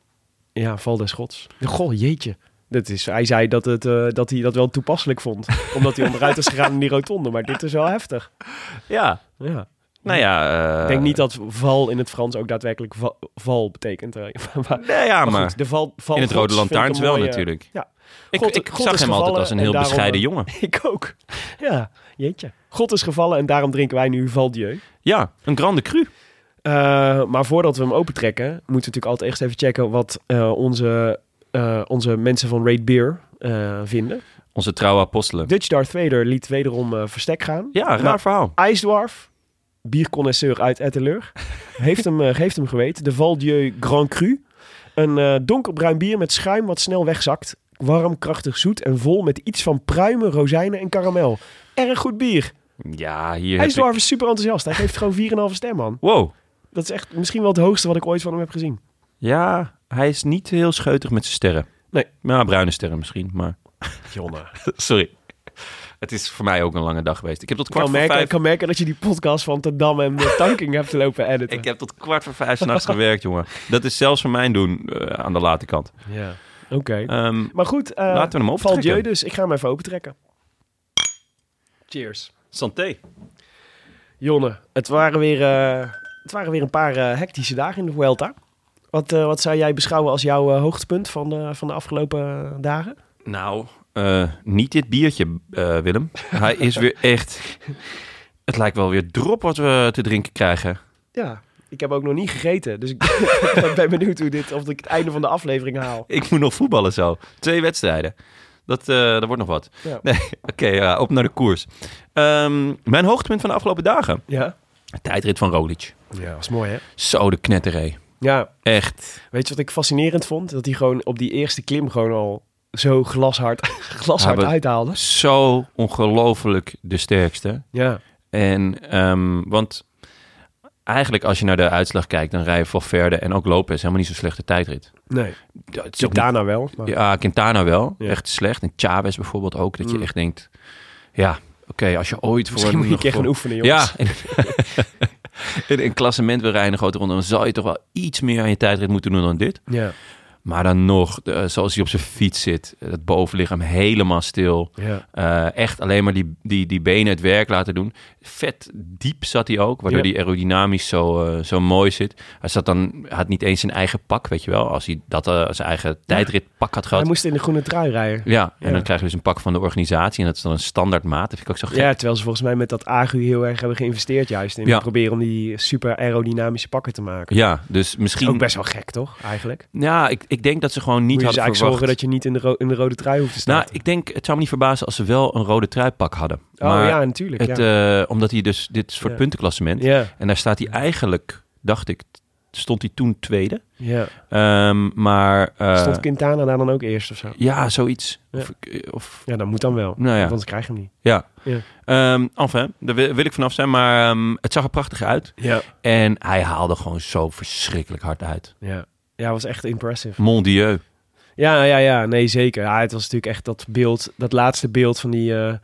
Ja, Val des Gods. Goh, jeetje. Dat is, hij zei dat, het, eh, dat hij dat wel toepasselijk vond. Omdat hij onderuit is gegaan in die rotonde. Maar dit is wel heftig.
Ja.
Ja.
Nou ja. eh,
Ik denk niet dat val in het Frans ook daadwerkelijk va- val betekent. eh, maar- maar
Nee, ja, maar,
goed, de val, val
in het
Gods
Rode
vind ik
Lantaarns
een
wel
mooie-
natuurlijk.
Ja.
Ik,
God-
ik
God
zag
is
hem altijd
gevallen
als een
en
heel
daarom,
bescheiden
eh,
jongen.
Ik ook. Ja, jeetje. God is gevallen en daarom drinken wij nu Valdieu.
Ja, een grande cru.
Eh, maar voordat we hem opentrekken, moeten we natuurlijk altijd eerst even checken wat eh, onze, eh, onze mensen van Raid Beer eh, vinden.
Onze trouwe apostelen.
Dutch Darth Vader liet wederom eh, verstek gaan.
Ja, raar
Maar-
verhaal.
IJsdwarf, bierconnoisseur uit Etteleur, heeft hem, eh, heeft hem geweten. De Valdieu Grand Cru. Een eh, donkerbruin bier met schuim wat snel wegzakt. Warm, krachtig, zoet en vol met iets van pruimen, rozijnen en karamel. Erg goed bier.
Ja, hier heb ik...
IJsdwarf is super enthousiast. Hij geeft gewoon 4,5 ster, man.
Wow.
Dat is echt misschien wel het hoogste wat ik ooit van hem heb gezien.
Ja, hij is niet heel scheutig met zijn sterren.
Nee.
Nou, bruine sterren misschien, maar...
Jonne.
Sorry. Het is voor mij ook een lange dag geweest. Ik heb tot
Ik kan
kwart voor
merken, ik
vijf...
kan merken dat je die podcast van Te Dam en eh, Tanking hebt lopen editen.
Ik heb tot kwart voor vijf s'nachts gewerkt, jongen. Dat is zelfs voor mijn doen eh, aan de late kant.
Ja, oké.
Ehm,
maar goed, eh,
laten we hem opentrekken.
Valdieu dus. Ik ga hem even opentrekken. Cheers.
santé.
Jonne, het waren weer, eh, het waren weer een paar eh, hectische dagen in de Vuelta. Wat, eh, wat zou jij beschouwen als jouw eh, hoogtepunt van de, van de afgelopen eh, dagen?
Nou, eh, niet dit biertje, eh, Willem. Hij is weer echt... Het lijkt wel weer drop wat we te drinken krijgen.
Ja, ik heb ook nog niet gegeten. Dus ik ben- ben benieuwd hoe dit, of ik het einde van de aflevering haal.
Ik moet nog voetballen zo. Twee wedstrijden. Dat, eh, dat wordt nog wat.
Ja.
Nee, Oké, ja, op naar de koers. Ehm, mijn hoogtepunt van de afgelopen dagen.
Ja?
Tijdrit van Roglic.
Ja, was mooi hè?
Zo de knetteré.
Ja,
Echt.
weet je wat ik fascinerend vond? Dat hij gewoon op die eerste klim gewoon al zo glashard, glashard
Ja, maar-
uithaalde.
Zo ongelooflijk de sterkste.
Ja,
En, ehm, want eigenlijk als je naar de uitslag kijkt, dan rijden Valverde en ook Lopez helemaal niet zo'n slechte tijdrit.
nee.
Ja, het is ook niet-
Daarna wel. Maar...
Ja, Quintana wel.
Ja.
Echt slecht. En Chavez bijvoorbeeld ook. Dat je
Mm.
echt denkt, ja, oké, als je ooit voor
Misschien moet je een keer
voor-
gaan oefenen, jongens.
Ja. in een klassement wil rijden in een grote ronde, dan zou je toch wel iets meer aan je tijdrit moeten doen dan dit.
Ja.
Maar dan nog, de- eh, zoals hij op zijn fiets zit, het bovenlichaam helemaal stil.
Ja.
Eh, echt alleen maar die, die, die benen het werk laten doen. Vet diep zat hij ook, waardoor
Ja.
hij aerodynamisch zo, eh, zo mooi zit. Hij zat dan, hij had niet eens zijn eigen pak, weet je wel. Als hij dat, eh, zijn eigen tijdritpak had
Hij
gehad.
moest in de groene trui rijden.
Ja, en
Ja.
dan krijg je dus een pak van de organisatie. En dat is dan een standaard maat. Dat vind ik ook zo gek.
Ja, terwijl ze volgens mij met dat agu heel erg hebben geïnvesteerd juist in
Ja.
proberen om die super aerodynamische pakken te maken.
Ja, dus
Is
misschien...
Ook best wel gek, toch? Eigenlijk.
Ja, ik, ik denk dat ze gewoon niet
Moet je dus
hadden
eigenlijk
verwacht...
zorgen dat je niet in de, ro- in de rode trui hoeft te staan.
Nou, ik denk, het zou me niet verbazen als ze wel een rode truipak hadden.
oh
maar
ja, natuurlijk.
het,
ja.
eh, omdat hij dus, dit is voor het
Ja.
puntenklassement.
ja,
En daar staat hij eigenlijk, dacht ik, t- stond hij toen tweede.
ja.
Ehm, maar... eh,
Stond Quintana daar dan ook eerst of zo?
Ja, zoiets.
Ja.
Of, ik- eh, of,
Ja, dat moet dan wel.
Nou ja.
Want anders krijg je hem niet.
ja.
Ja.
Ehm, enfin, daar wil, wil ik vanaf zijn. Maar ehm, het zag er prachtig uit.
Ja.
En hij haalde gewoon zo verschrikkelijk hard uit.
Ja. Ja, was echt impressive.
Mon Dieu.
Ja, ja, ja. Nee, zeker. Ja, het was natuurlijk echt dat beeld, dat laatste beeld van die, eh,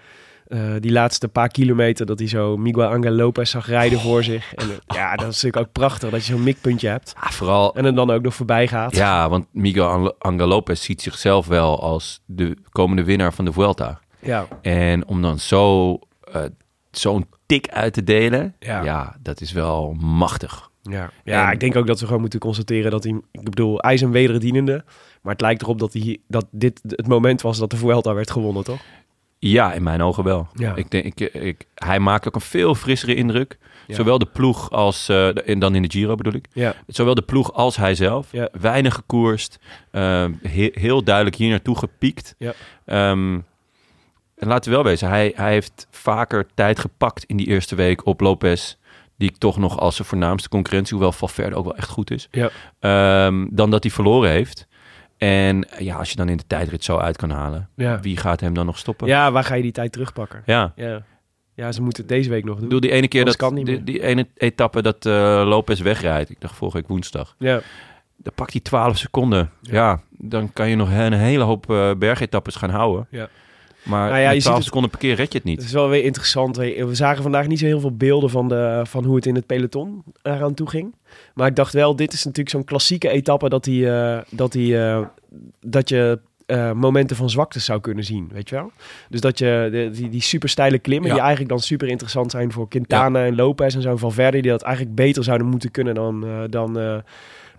eh, die laatste paar kilometer dat hij zo Miguel Angel Lopez zag rijden
Oh.
voor zich. En, eh, ja, dat is natuurlijk ook prachtig dat je zo'n mikpuntje hebt.
Vooral
En hem dan ook nog voorbij gaat.
Ja, want Miguel Ang- Angel Lopez ziet zichzelf wel als de komende winnaar van de Vuelta.
Ja.
En om dan zo, eh, zo'n tik uit te delen,
Ja.
ja. dat is wel machtig.
Ja, ja
En-
ik denk ook dat we gewoon moeten constateren dat hij... Ik bedoel, hij is een wederdienende. Maar het lijkt erop dat, hij, dat dit het moment was dat de Vuelta werd gewonnen, toch?
Ja, in mijn ogen wel.
Ja.
Ik denk, ik, ik, hij maakt ook een veel frissere indruk.
Ja.
Zowel de ploeg als, eh, de- en dan in de Giro bedoel ik.
Ja.
Zowel de ploeg als hij zelf.
Ja.
Weinig gekoerst. eh, he- heel duidelijk hier naartoe gepiekt.
Ja.
Ehm, en laten we wel wezen, hij, hij heeft vaker tijd gepakt in die eerste week op Lopez. Die ik toch nog als zijn voornaamste concurrentie, hoewel Valverde ook wel echt goed is.
Ja.
ehm, dan dat hij verloren heeft. En eh, ja, als je dan in de tijdrit zo uit kan halen,
Ja.
wie gaat hem dan nog stoppen?
Ja, waar ga je die tijd terugpakken?
Ja.
Ja, ja ze moeten het deze week nog doen.
Ik bedoel, die ene keer
Anders
dat,
kan het niet
die, die ene etappe dat eh, Lopez wegrijdt. Ik dacht vorige week woensdag.
Ja.
Dan pakt hij 12 seconden. Ja. dan kan je nog een hele hoop eh, bergetappes gaan houden.
Ja.
Maar
Nou ja, je
met
ziet
12
het-
seconden per keer red je het
Het
niet.
is wel weer interessant. We we zagen vandaag niet zo heel veel beelden van, de, van hoe het in het peloton eraan toe ging. Maar ik dacht wel, dit is natuurlijk zo'n klassieke etappe dat, die, eh, dat, die, eh, dat je eh, momenten van zwakte zou kunnen zien, weet je wel? Dus dat je de- die, die super steile klimmen,
Ja.
die eigenlijk dan super interessant zijn voor Quintana en Lopez en zo van Verder, die dat eigenlijk beter zouden moeten kunnen dan, eh, dan, eh,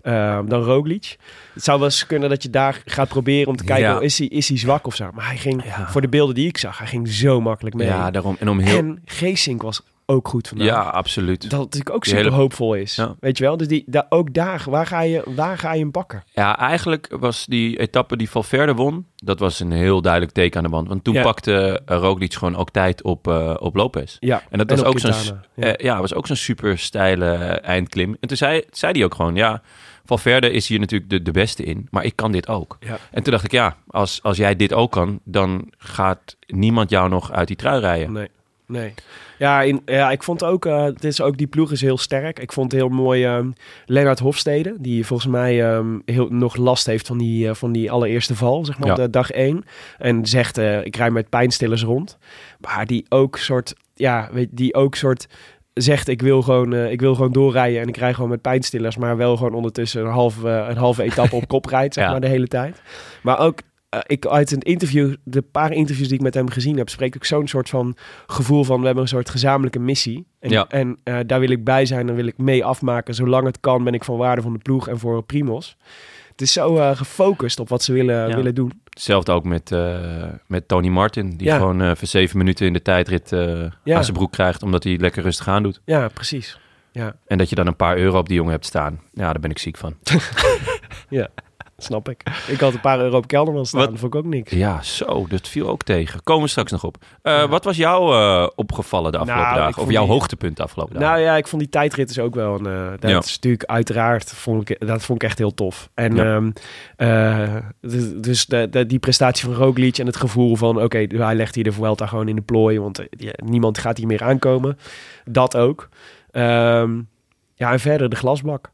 eh, dan Roglic. Het zou wel eens kunnen dat je daar gaat proberen om te kijken,
Ja.
oh, is, hij, is hij zwak of zo? Maar hij ging,
Ja.
voor de beelden die ik zag, hij ging zo makkelijk mee.
Ja, daarom. En om heel...
En Geesink was ook goed vandaag.
ja, absoluut.
Dat het natuurlijk ook
Die
super
hele-
hoopvol is.
Ja.
Weet je wel? Dus die, daar ook daar, waar ga, je, waar ga je hem pakken?
Ja, eigenlijk was die etappe die Valverde won... dat was een heel duidelijk teken aan de wand. Want toen
Ja.
pakte eh, Roglic gewoon ook tijd op, eh, op Lopez.
Ja,
En dat was,
op
ook zo'n,
Quintana,
ja. ja, was ook zo'n super steile eh, eindklim. En toen zei, zei hij ook gewoon, ja, Valverde is hier natuurlijk de, de beste in, maar ik kan dit ook.
Ja.
En toen dacht ik, ja, als, als jij dit ook kan, dan gaat niemand jou nog uit die trui rijden.
Nee. Nee. Ja, in, ja, ik vond ook, eh het is ook, die ploeg is heel sterk. Ik vond heel mooi ehm Lennart Hofstede, die volgens mij ehm, heel, nog last heeft van die, eh, van die allereerste val, zeg maar,
Ja.
op de dag één. En zegt, eh, ik rij met pijnstillers rond. Maar die ook soort, ja, weet, die ook soort zegt, ik wil, gewoon, eh, ik wil gewoon doorrijden en ik rij gewoon met pijnstillers, maar wel gewoon ondertussen een halve, eh, een halve etappe op kop rijdt, zeg
Ja.
maar, de hele tijd. Maar ook, eh, ik uit een interview, de paar interviews die ik met hem gezien heb, spreekt ook zo'n soort van gevoel van we hebben een soort gezamenlijke missie. En,
Ja.
en eh, daar wil ik bij zijn, daar wil ik mee afmaken. Zolang het kan ben ik van waarde van de ploeg en voor Primos. Het is zo eh, gefocust op wat ze willen,
Ja.
willen doen.
Hetzelfde ook met, eh, met Tony Martin, die
Ja.
gewoon eh, voor zeven minuten in de tijdrit eh,
Ja.
aan zijn broek krijgt, omdat hij lekker rustig aan doet.
Ja, precies. Ja,
En dat je dan een paar euro op die jongen hebt staan. Ja, daar ben ik ziek van.
snap ik. Ik had een paar euro op Kelderman staan,
Wat-
dat vond ik ook niks.
Ja, zo, dat viel ook tegen. Komen we straks nog op. Eh, Wat was jou eh, opgevallen de afgelopen
Nou, ik
dagen?
vond
Of jouw
die-
hoogtepunt de afgelopen dagen?
Nou ja, ik vond die tijdrit dus ook wel een... eh, dat
Ja.
is natuurlijk uiteraard, vond ik, dat vond ik echt heel tof. En
Ja.
ehm, eh, dus, dus de, de- die prestatie van Roglic en het gevoel van... Oké, hij legt hier de Vuelta gewoon in de plooi, want eh, ja, niemand gaat hier meer aankomen. Dat ook. Ehm, ja, en verder de glasbak.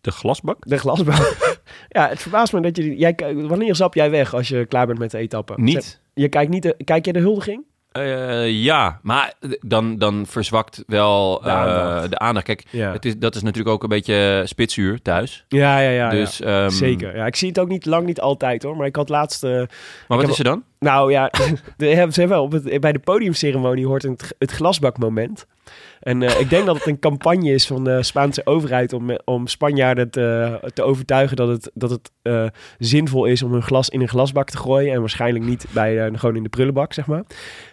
de glasbak?
De glasbak. ja, het verbaast me dat je... die- Jij, kijkt- wanneer zap jij weg als je klaar bent met de etappe?
Niet.
Je kijkt niet... de- kijk je de huldiging?
Eh, ja, maar dan, dan verzwakt wel eh,
De
de
aandacht.
aandacht. Kijk,
Ja.
het is, dat is natuurlijk ook een beetje spitsuur thuis.
Ja, ja, ja.
dus, ehm,
Zeker. Ja, ik zie het ook niet lang niet altijd hoor. Maar ik had laatst. eh,
Maar
heb-
wat is er dan?
nou ja, de, hebben ze wel op het, bij de podiumceremonie hoort een, t- het glasbakmoment. En eh, ik denk dat het een campagne is van de Spaanse overheid om, eh, om Spanjaarden te, te overtuigen dat het, dat het eh, zinvol is om hun glas in een glasbak te gooien. En waarschijnlijk niet bij, eh, gewoon in de prullenbak, zeg maar.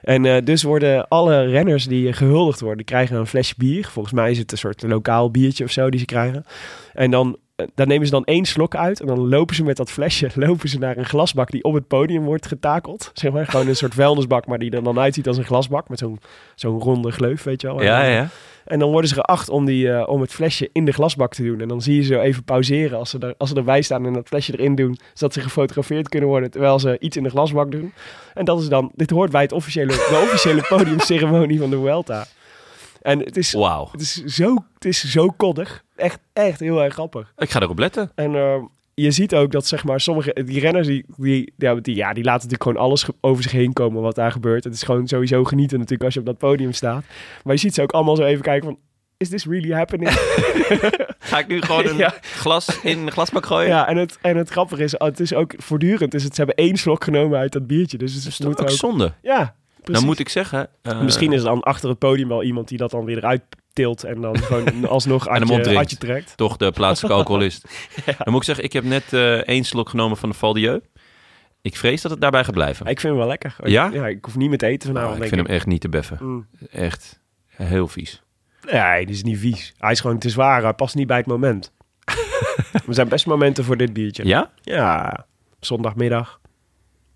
En eh, dus worden alle renners die gehuldigd worden, die krijgen een flesje bier. Volgens mij is het een soort lokaal biertje of zo die ze krijgen. En dan, eh, daar nemen ze dan één slok uit. En dan lopen ze met dat flesje lopen ze naar een glasbak die op het podium wordt getakeld. Zeg maar, gewoon een soort vuilnisbak, maar die er dan uitziet als een glasbak. Met zo'n zo'n ronde gleuf, weet je wel.
Ja,
En,
ja.
eh,
ja.
En dan worden ze geacht om, die, eh, om het flesje in de glasbak te doen. En dan zie je ze zo even pauzeren als ze, er, als ze erbij staan en dat flesje erin doen. Zodat ze gefotografeerd kunnen worden terwijl ze iets in de glasbak doen. En dat is dan, dit hoort bij het officiële, de officiële podiumceremonie van de Vuelta. En het is,
Wauw.
het is, zo, het is zo koddig. Echt, echt heel erg grappig.
Ik ga erop letten.
En eh, je ziet ook dat zeg maar sommige die renners die, die, ja, die, ja, die laten natuurlijk gewoon alles ge- over zich heen komen wat daar gebeurt. Het is gewoon sowieso genieten natuurlijk als je op dat podium staat. Maar je ziet ze ook allemaal zo even kijken van is this really happening?
Ga ik nu gewoon een
Ja.
glas in een glasbak gooien?
ja, en het, en het grappige is, het is ook voortdurend. Dus het, ze hebben één slok genomen uit dat biertje. Dus ze
Dat is
moeten
ook
ook...
Oh, zonde.
Ja, precies.
Dan moet ik zeggen... eh,
Misschien is er dan achter het podium wel iemand die dat dan weer eruit tilt en dan gewoon alsnog
En hem
uit, je,
opdrinkt.
uit je trekt.
toch de plaatselijke alcoholist. Dan moet ik zeggen, ik heb net eh één slok genomen van de Val Dieu. Ik vrees dat het daarbij gaat blijven.
Maar Ik vind hem wel lekker.
Ja?
ik hoef niet meer te eten
Ah,
vanavond.
ik
denk
vind hem echt niet te beffen.
Mm.
Echt heel vies.
Nee, dit is niet vies. Hij is gewoon te zwaar. Hij past niet bij het moment. er zijn best momenten voor dit biertje.
Ja?
Ja, zondagmiddag.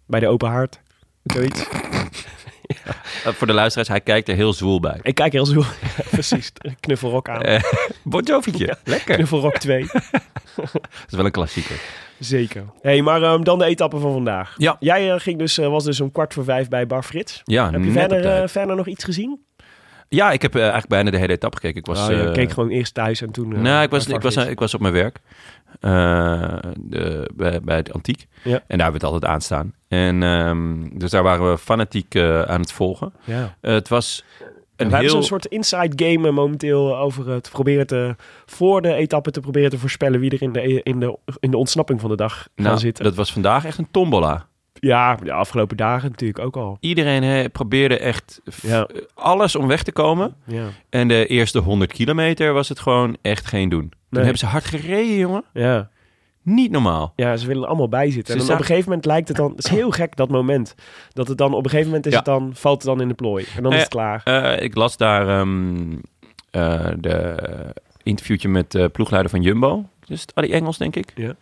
Bij de open haard. Zoiets.
Eh, voor de luisteraars, hij kijkt er heel zwoel bij.
Ik kijk heel zo. Ja, precies. Knuffelrok aan.
Eh, Bon Jovi'tje. Lekker.
Knuffelrok 2.
Dat is wel een klassieker.
Zeker. hey, maar ehm, dan de etappe van vandaag.
Ja.
Jij eh, ging dus, eh, was dus om kwart voor vijf bij Bar Frits.
Ja,
Heb je
net op
verder,
tijd.
eh, verder nog iets gezien?
Ja, ik heb eh, eigenlijk bijna de hele etappe gekeken. Ik was,
Oh, je
eh,
keek gewoon eerst thuis en toen... eh,
nou, ik
bij
was,
Bar
ik, was,
Frits.
ik was op mijn werk. Eh, de, bij, bij het antiek.
Ja.
En daar hebben we het altijd aanstaan. En, ehm, dus daar waren we fanatiek eh, aan het volgen.
Ja.
Eh, het was
En
een
we hebben
heel...
zo'n soort inside game eh, momenteel eh, over het proberen te, voor de etappe te proberen te voorspellen wie er in de, e, in de, in de ontsnapping van de dag gaan
nou,
zitten.
Dat was vandaag echt een tombola.
Ja, de afgelopen dagen natuurlijk ook al.
Iedereen hè, probeerde echt f-
Ja.
alles om weg te komen.
Ja,
En de eerste 100 kilometer was het gewoon echt geen doen. Toen
Nee.
hebben ze hard gereden, jongen.
ja.
Niet normaal.
ja ze willen er allemaal bij zitten.
Ze
En dan
zag-
op een gegeven moment lijkt het dan, het is heel gek dat moment, dat het dan op een gegeven moment is
Ja.
het dan, valt het dan in de plooi. En dan
Eh,
is het klaar.
Eh, ik las daar ehm, eh, de interviewtje met de ploegleider van Jumbo. Dus Adi Engels, denk ik.
Ja.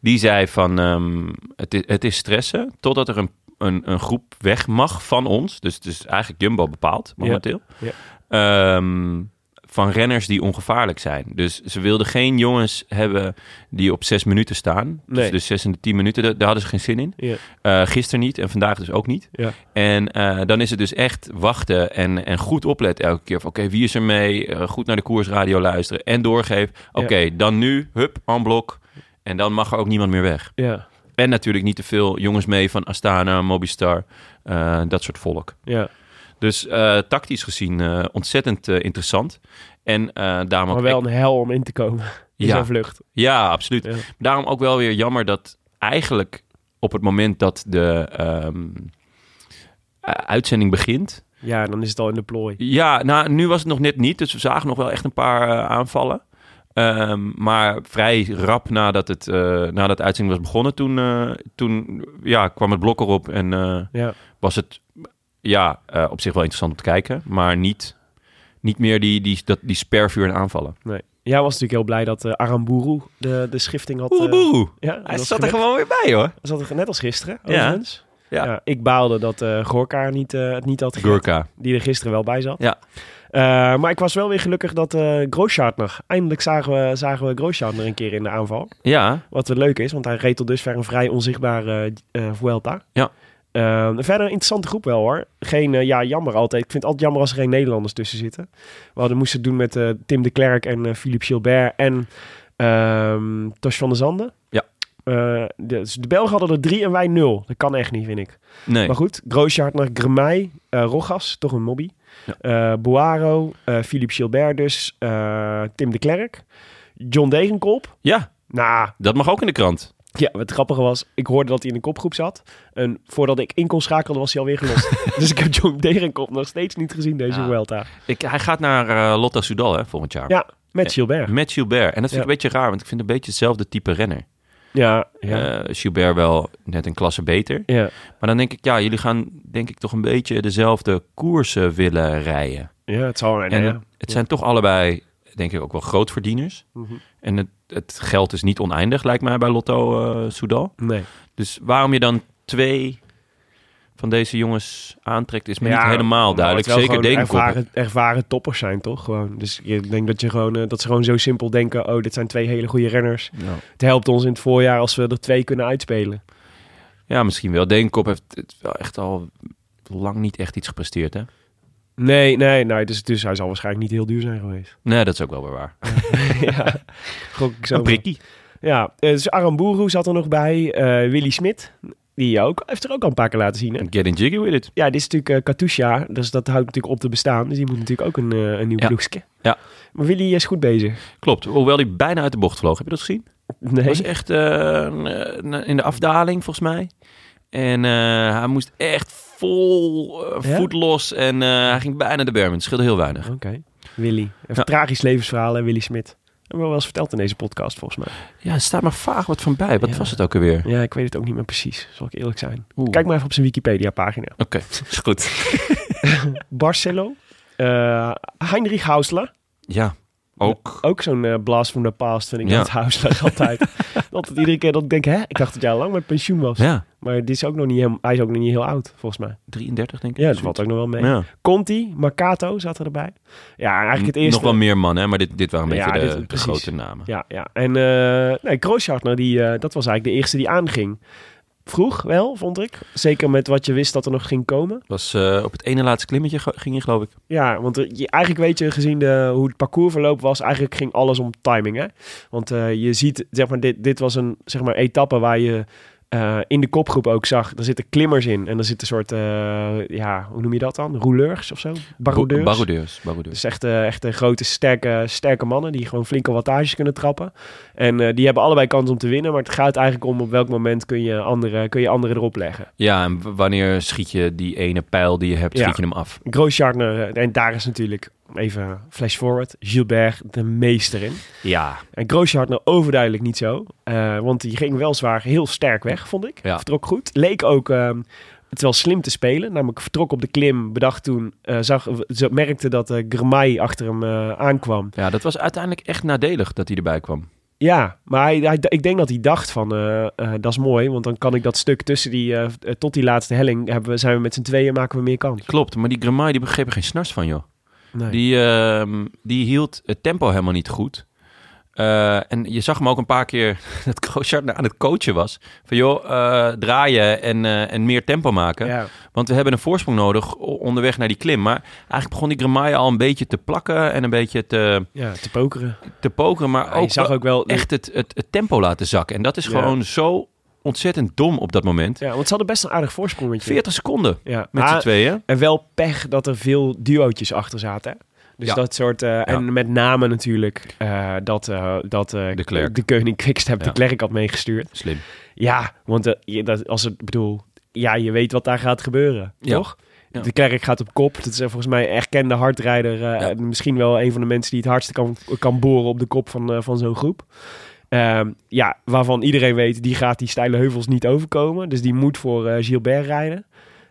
Die zei van, ehm, het, is, het is stressen totdat er een, een, een groep weg mag van ons. Dus het is eigenlijk Jumbo bepaald momenteel.
Ja.
Ehm, van renners die ongevaarlijk zijn. Dus ze wilden geen jongens hebben die op zes minuten staan.
Nee.
Dus de zes en de tien minuten, daar, daar hadden ze geen zin in.
Ja.
Eh, gisteren niet en vandaag dus ook niet.
Ja.
En eh, dan is het dus echt wachten en, en goed opletten elke keer. Van, Oké, wie is er mee? Eh, goed naar de koersradio luisteren en doorgeven. Oké, dan nu, hup, en blok. En dan mag er ook niemand meer weg.
Ja,
En natuurlijk niet te veel jongens mee van Astana, Mobistar, eh, dat soort volk.
ja.
Dus eh, tactisch gezien eh, ontzettend eh, interessant. En eh daarom ook
Maar wel een hel om in te komen in
Ja.
zijn vlucht.
ja, absoluut.
Ja.
Daarom ook wel weer jammer dat eigenlijk op het moment dat de ehm, eh, uitzending begint.
Ja, dan is het al in de plooi.
Ja, nou, nu was het nog net niet. Dus we zagen nog wel echt een paar eh, aanvallen. Ehm, maar vrij rap nadat, het, eh, nadat de uitzending was begonnen, toen, eh, toen ja, kwam het blok erop. En eh,
Ja.
was het ja, eh, op zich wel interessant om te kijken. Maar niet, niet meer die, die, dat, die spervuur en aanvallen.
Nee. Jij was natuurlijk heel blij dat eh Aramburu de, de schifting had... eh,
Oeroboeroe.
ja,
Hij
dat
zat er
gebeurd.
gewoon weer bij, hoor.
Dat zat er net als gisteren,
Ja.
overigens. Ja.
Ja.
ik baalde dat eh Gorka niet, eh, het niet had gered,
Gurka.
die er gisteren wel bij zat.
Ja.
Eh, maar ik was wel weer gelukkig dat eh Grosjean Eindelijk zagen we, zagen we Grosjean er een keer in de aanval.
Ja,
Wat wel leuk is, want hij reed tot dusver een vrij onzichtbare eh, eh, Vuelta.
Ja.
Eh, verder een interessante groep wel hoor. Geen, eh, ja, jammer altijd. Ik vind het altijd jammer als er geen Nederlanders tussen zitten. We hadden moesten het doen met eh, Tim de Klerk en eh, Philippe Gilbert en ehm Tosh van der Zanden.
Ja.
Eh, dus de Belgen hadden er drie en wij nul. Dat kan echt niet, vind ik.
nee.
Maar goed, Grosjean naar Gremay, eh, Rogas, toch een mobby. Eh, Boaro, eh, Philippe Gilbert dus, eh, Tim de Klerk, John Degenkolb.
Ja,
Nou,
dat mag ook in de krant.
ja, wat grappige was, ik hoorde dat hij in de kopgroep zat. En voordat ik in kon schakelen, was hij alweer gelost. dus ik heb John Degenkop nog steeds niet gezien deze
Ja.
Vuelta.
Ik, hij gaat naar eh, Lotta Soudal hè, volgend jaar.
Ja, met Gilbert.
Met Gilbert. En dat vind ik
Ja.
een beetje raar, want ik vind een beetje hetzelfde type renner.
Ja, ja.
Eh Gilbert wel net een klasse beter.
ja.
Maar dan denk ik, ja, jullie gaan denk ik toch een beetje dezelfde koersen willen rijden.
ja, het zal
en
zijn. Ja.
het zijn toch allebei, denk ik, ook wel grootverdieners.
Mhm.
En het, het geld is niet oneindig, lijkt mij, bij Lotto eh, Soudal.
Nee.
Dus waarom je dan twee van deze jongens aantrekt, is me
Ja,
niet helemaal
omdat
duidelijk.
het wel
Zeker
gewoon
Degenkolb.
ervaren, ervaren toppers zijn, toch? Gewoon. Dus ik denk dat, je gewoon, eh, dat ze gewoon zo simpel denken... oh, dit zijn twee hele goede renners.
Ja.
Het helpt ons in het voorjaar als we er twee kunnen uitspelen.
Ja, misschien wel. Degenkop heeft het wel echt al lang niet echt iets gepresteerd, hè?
Nee, nee, nee. Dus, dus hij zal waarschijnlijk niet heel duur zijn geweest.
Nee, dat is ook wel weer waar.
ja, gok ik zo. maar.
prikkie.
Ja, eh, dus Aramburu zat er nog bij. eh, Willy Smit, die je ook, heeft er ook al een paar keer laten zien. Hè?
Getting jiggy with it.
Ja, dit is natuurlijk eh, Katusha, dus dat houdt natuurlijk op te bestaan. Dus die moet natuurlijk ook een, eh, een nieuw
Ja.
ploegje.
Ja.
Maar Willy is goed bezig.
Klopt. Hoewel hij bijna uit de bocht vloog. Heb je dat gezien?
Nee.
Hij was echt eh, eh, in de afdaling, volgens mij. En eh, hij moest echt vol eh,
Ja?
voet los. En eh, hij ging bijna de berm. in. Het scheelde heel weinig.
Oké. Willy. Een tragisch levensverhaal, hè, Willy Smit. Hebben we wel eens verteld in deze podcast, volgens mij.
Ja, er staat maar vaag wat van bij. Wat
Ja.
was het ook alweer?
Ja, ik weet het ook niet meer precies, zal ik eerlijk zijn.
Oeh.
Kijk maar even op zijn Wikipedia-pagina.
Oké, is goed.
Barcelo. eh, Heinrich Hausler.
Ja, ook.
Ook zo'n eh, blast from the past vind ik
Ja.
dat Hausler altijd. altijd iedere keer dat ik denk, hè? Ik dacht dat jij al lang met pensioen was.
Ja,
Maar dit is ook nog niet helemaal, hij is ook nog niet heel oud, volgens mij.
33 denk ik.
Ja, dat valt ook nog wel mee.
Ja.
Conti, Mercato zat erbij. Ja, eigenlijk het eerste.
Nog wel meer mannen, hè, maar dit, dit waren een
Ja,
beetje de,
dit-
de
precies.
grote namen.
Ja, ja. En eh nee, Kroosjartner, die, eh, dat was eigenlijk de eerste die aanging. Vroeg wel, vond ik. Zeker met wat je wist dat er nog ging komen.
Was eh, op het ene laatste klimmetje ge- ging je, geloof ik.
Ja, want er- je, eigenlijk weet je, gezien de, hoe het parcoursverloop was, eigenlijk ging alles om timing. Hè? Want eh, je ziet, zeg maar, dit, dit was een zeg maar, etappe waar je eh, in de kopgroep ook zag, daar zitten klimmers in. En er zit een soort, eh, ja, hoe noem je dat dan? Rouleurs of zo? Baroudeurs?
Bo- Baroudeurs. Baroudeurs.
Dus echt, eh, echt eh, grote, sterke, sterke mannen die gewoon flinke wattages kunnen trappen. En eh, die hebben allebei kans om te winnen. Maar het gaat eigenlijk om op welk moment kun je anderen, kun je anderen erop leggen.
Ja, en w- wanneer schiet je die ene pijl die je hebt,
Ja.
schiet je hem af.
Grosjean, eh, en daar is natuurlijk, even flash forward, Gilbert de meester in.
Ja,
En Grosjean overduidelijk niet zo. eh, want die ging wel zwaar heel sterk weg, vond ik.
Ja.
Vertrok goed. Leek ook ehm, het wel slim te spelen. Namelijk vertrok op de klim, bedacht toen, eh, zag, ze merkte dat eh Germay achter hem eh, aankwam.
ja, dat was uiteindelijk echt nadelig dat hij erbij kwam.
Ja, maar hij, hij- ik denk dat hij dacht van, eh, eh, dat is mooi, want dan kan ik dat stuk tussen die, eh, eh, tot die laatste helling, hebben we, zijn we met z'n tweeën, maken we meer kans.
Klopt, maar die Gramai die begreep er geen snars van, joh.
Nee.
Die, ehm, die hield het tempo helemaal niet goed. Eh, en je zag hem ook een paar keer dat Grosjean aan het coachen was. Van joh, eh, draaien en, eh, en meer tempo maken.
Ja.
Want we hebben een voorsprong nodig o- onderweg naar die klim. Maar eigenlijk begon die Gramai al een beetje te plakken en een beetje te,
ja, te pokeren.
te pokeren. Maar
Ja, je
ook,
zag
wel
ook wel...
echt het, het, het tempo laten zakken. En dat is
Ja.
gewoon zo ontzettend dom op dat moment.
Ja, want ze hadden best een aardig voorsprong met je.
40 seconden
ja.
met
Ah,
z'n tweeën.
En wel pech dat er veel duootjes achter zaten. hè? Dus
Ja.
dat soort... eh, En met name natuurlijk eh, dat, eh, dat eh,
De Klerk.
de koning Quickstep
Ja.
de klerk had meegestuurd.
Slim.
Ja, want eh, je- dat, als het bedoel, ja, je weet wat daar gaat gebeuren,
Ja.
toch?
Ja.
De klerk gaat op kop. Dat is eh, volgens mij een erkende hardrijder. eh, en misschien wel een van de mensen die het hardste kan, kan boren op de kop van, eh, van zo'n groep. Ehm, ja, waarvan iedereen weet, die gaat die steile heuvels niet overkomen. Dus die moet voor eh, Gilbert rijden.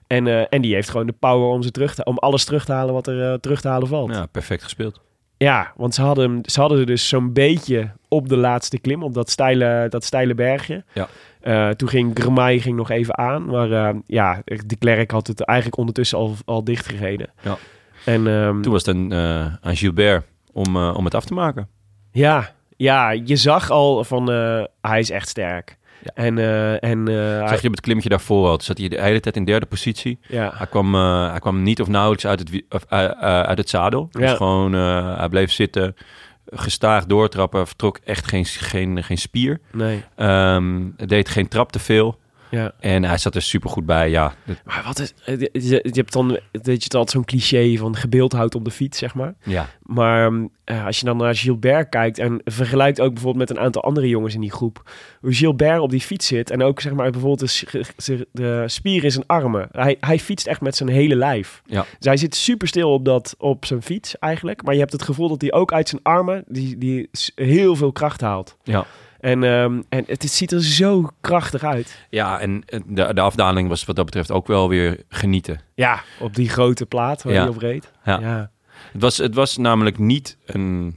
En, eh, en die heeft gewoon de power om, ze terug te, om alles terug te halen wat er eh, terug te halen valt.
Ja, perfect gespeeld.
Ja, want ze hadden, hem- ze hadden er dus zo'n beetje op de laatste klim, op dat steile, dat steile bergje.
Ja.
Eh, toen ging Gramai ging nog even aan, maar eh, ja, de klerk had het eigenlijk ondertussen al, al dichtgereden.
Ja.
En ehm,
Toen was het een, eh, aan Gilbert om, eh, om het af te maken.
ja, ja, je zag al van eh, hij is echt sterk.
Ja.
En, eh, en eh, hij-
Zag je op het klimmetje daarvoor al. Toen zat hij de hele tijd in derde positie.
ja.
Hij kwam, eh, hij kwam niet of nauwelijks uit het, wie- of, eh, eh, uit het zadel. Dus
Ja.
gewoon, eh, hij bleef zitten, gestaag doortrappen, vertrok echt geen, geen, geen spier.
Nee.
Ehm, deed geen trap te veel.
Ja.
En hij zat er super goed bij. Ja, dat-
Maar wat is. eh, Je, je je hebt dan. Weet je, het altijd zo'n cliché van gebeeldhouwd op de fiets, zeg maar.
ja.
Maar ehm, eh, als je dan naar Gilbert kijkt en vergelijkt ook bijvoorbeeld met een aantal andere jongens in die groep. Hoe Gilbert op die fiets zit en ook zeg maar bijvoorbeeld de, s- ge- zich- de spier in zijn armen. Hij, hij fietst echt met zijn hele lijf.
Ja.
Dus hij zit super stil op, dat, op zijn fiets eigenlijk. Maar je hebt het gevoel dat hij ook uit zijn armen die, die s- heel veel kracht haalt.
Ja.
En, ehm, en het, ziet er zo krachtig uit.
Ja, en eh, de, de afdaling was wat dat betreft ook wel weer genieten.
Ja, op die grote plaat waar
Ja.
hij op reed.
Ja.
ja.
Het was, het was namelijk niet een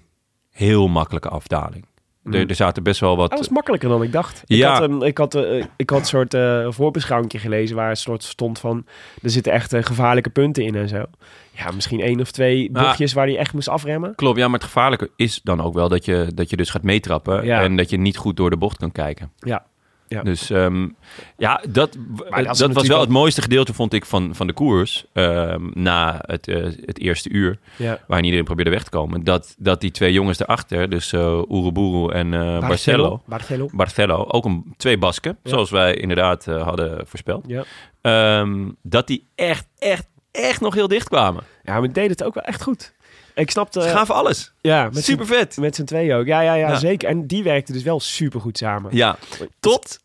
heel makkelijke afdaling.
Mhm.
Er, er zaten best wel wat...
Oh, Dat was makkelijker dan ik dacht. Ik
Ja.
had een, ik had, eh, ik had een soort eh voorbeschouwing gelezen waar een soort stond van... er zitten echt eh, gevaarlijke punten in en zo. Ja, misschien één of twee
Maar-
bochtjes waar hij echt moest afremmen.
Klopt, ja, maar het gevaarlijke is dan ook wel dat je, dat je dus gaat meetrappen
Ja.
en dat je niet goed door de bocht kan kijken.
Ja. Ja.
Dus ehm, ja, dat,
Maar
dat
als
was
er
wel
natuurlijk
het mooiste gedeelte, vond ik, van, van de koers. ehm, na het, eh, het eerste uur,
Ja.
waarin iedereen probeerde weg te komen. Dat, dat die twee jongens daarachter, dus eh Uruburu en eh, Barcelo,
Barcelo.
Barcelo, ook een, twee Basken,
Ja.
zoals wij inderdaad eh, hadden voorspeld.
Ja.
Ehm, dat die echt, echt, echt nog heel dicht kwamen. Eh,
ja, maar die deed het ook wel echt goed. Ik snapte...
Ze gaven alles.
ja, met
Super vet.
z'n- Met z'n tweeën ook. Ja, ja, ja,
Ja.
zeker. En die werkten dus wel supergoed samen.
Ja, tot,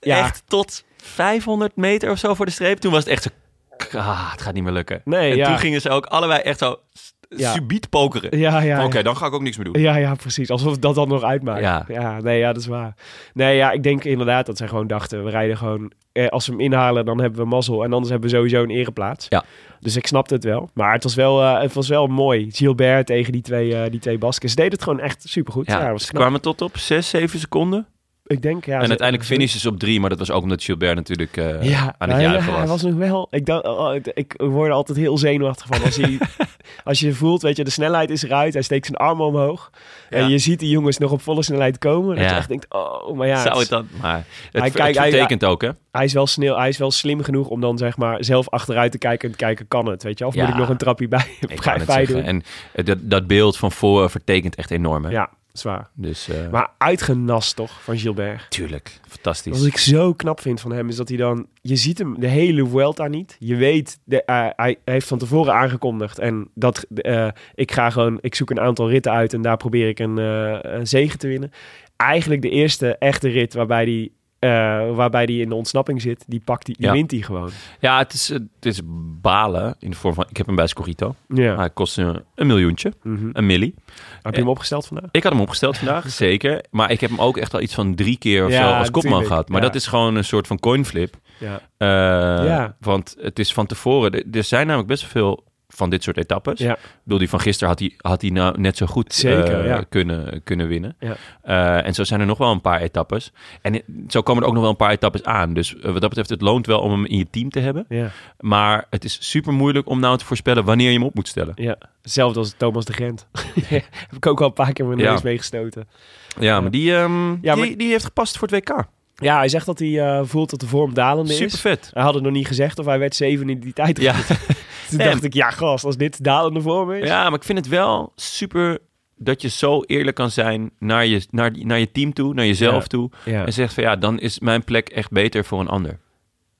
Ja.
echt tot 500 meter of zo voor de streep. Toen was het echt zo, k- ah, het gaat niet meer lukken.
Nee,
en
ja.
toen gingen ze ook allebei echt zo s-
Ja.
subiet pokeren.
Ja, ja,
Van, Oké,
ja.
dan ga ik ook niks meer doen.
Ja, ja, precies. Alsof dat dan nog uitmaakt.
Ja.
Ja. nee, ja, dat is waar. Nee, ja, ik denk inderdaad dat zij gewoon dachten... we rijden gewoon... Eh, als ze hem inhalen, dan hebben we mazzel. En anders hebben we sowieso een ereplaats.
Ja.
Dus ik snapte het wel. Maar het was wel, eh, het was wel mooi. Gilbert tegen die twee, eh, die twee Basken. Ze deden het gewoon echt supergoed. Ja,
Ja,
dat was
ze
knap.
kwamen tot op 6, 7 seconden.
Ik denk, ja...
en
ze-
uiteindelijk finishen ze op 3, maar dat was ook omdat Gilbert natuurlijk eh,
Ja,
aan het
nou
juichen
ja, hij
was.
was nog wel. Ik, dacht, oh, ik, ik word er altijd heel zenuwachtig van. Als je, als je voelt, weet je, de snelheid is eruit. Hij steekt zijn armen omhoog.
Ja.
En je ziet die jongens nog op volle snelheid komen. Dat
Ja.
je echt denkt, oh, maar ja. het
Zou
is-
het dan? Maar het,
Hij
het
kijkt- hij-
betekent ook, hè?
hij is, wel snel, hij is wel slim genoeg om dan zeg maar zelf achteruit te kijken en te kijken kan het, weet je? Of
Ja.
moet ik nog een trapje bij,
Ik wou
bij,
net
bij
zeggen.
doen?
En eh, dat, dat beeld van voor vertekent echt enorm, hè?
Ja, zwaar.
Dus, eh,
Maar uitgenast toch van Gilbert.
tuurlijk, fantastisch.
Wat ik zo knap vind van hem is dat hij dan... Je ziet hem de hele Vuelta niet. Je weet, de, eh, hij heeft van tevoren aangekondigd. En dat eh, ik ga gewoon... Ik zoek een aantal ritten uit en daar probeer ik een, eh, een zege te winnen. Eigenlijk de eerste echte rit waarbij hij... eh, waarbij die in de ontsnapping zit, die pakt die, die
Ja.
wint hij gewoon.
Ja, het is, eh, het is balen in de vorm van... Ik heb hem bij Scorito.
Ja.
Hij kost een, een miljoentje,
Mhm.
een milli. eh,
Heb je hem opgesteld vandaag?
Ik had hem opgesteld vandaag, zeker. Maar ik heb hem ook echt al iets van drie keer of
Ja,
zo als kopman
tuurlijk,
gehad. Maar
ja.
dat is gewoon een soort van coinflip.
Ja.
Eh,
Ja.
Want het is van tevoren... Er er zijn namelijk best wel veel van dit soort etappes.
Ja.
Ik bedoel, die van gisteren had hij, had hij nou net zo goed
Zeker,
eh,
ja.
kunnen, kunnen winnen.
Ja.
Eh, en zo zijn er nog wel een paar etappes. En i- zo komen er ook nog wel een paar etappes aan. Dus eh, wat dat betreft, het loont wel om hem in je team te hebben.
Ja.
Maar het is super moeilijk om nou te voorspellen wanneer je hem op moet stellen.
ja. Hetzelfde als Thomas de Gent. Heb ik ook al een paar keer mijn
Ja.
neus meegestoten.
Ja, maar die, ehm,
Ja,
die,
maar-
die heeft gepast voor het WK.
Ja, hij zegt dat hij eh, voelt dat de vorm dalende
Super
is.
vet.
Hij had het nog niet gezegd of hij werd zeven in die tijd.
Ja.
Toen dacht ik, ja gast, als dit dalende vorm is.
ja, maar ik vind het wel super dat je zo eerlijk kan zijn naar je, naar, naar je team toe, naar jezelf
Ja.
toe.
Ja.
En zegt van ja, dan is mijn plek echt beter voor een ander.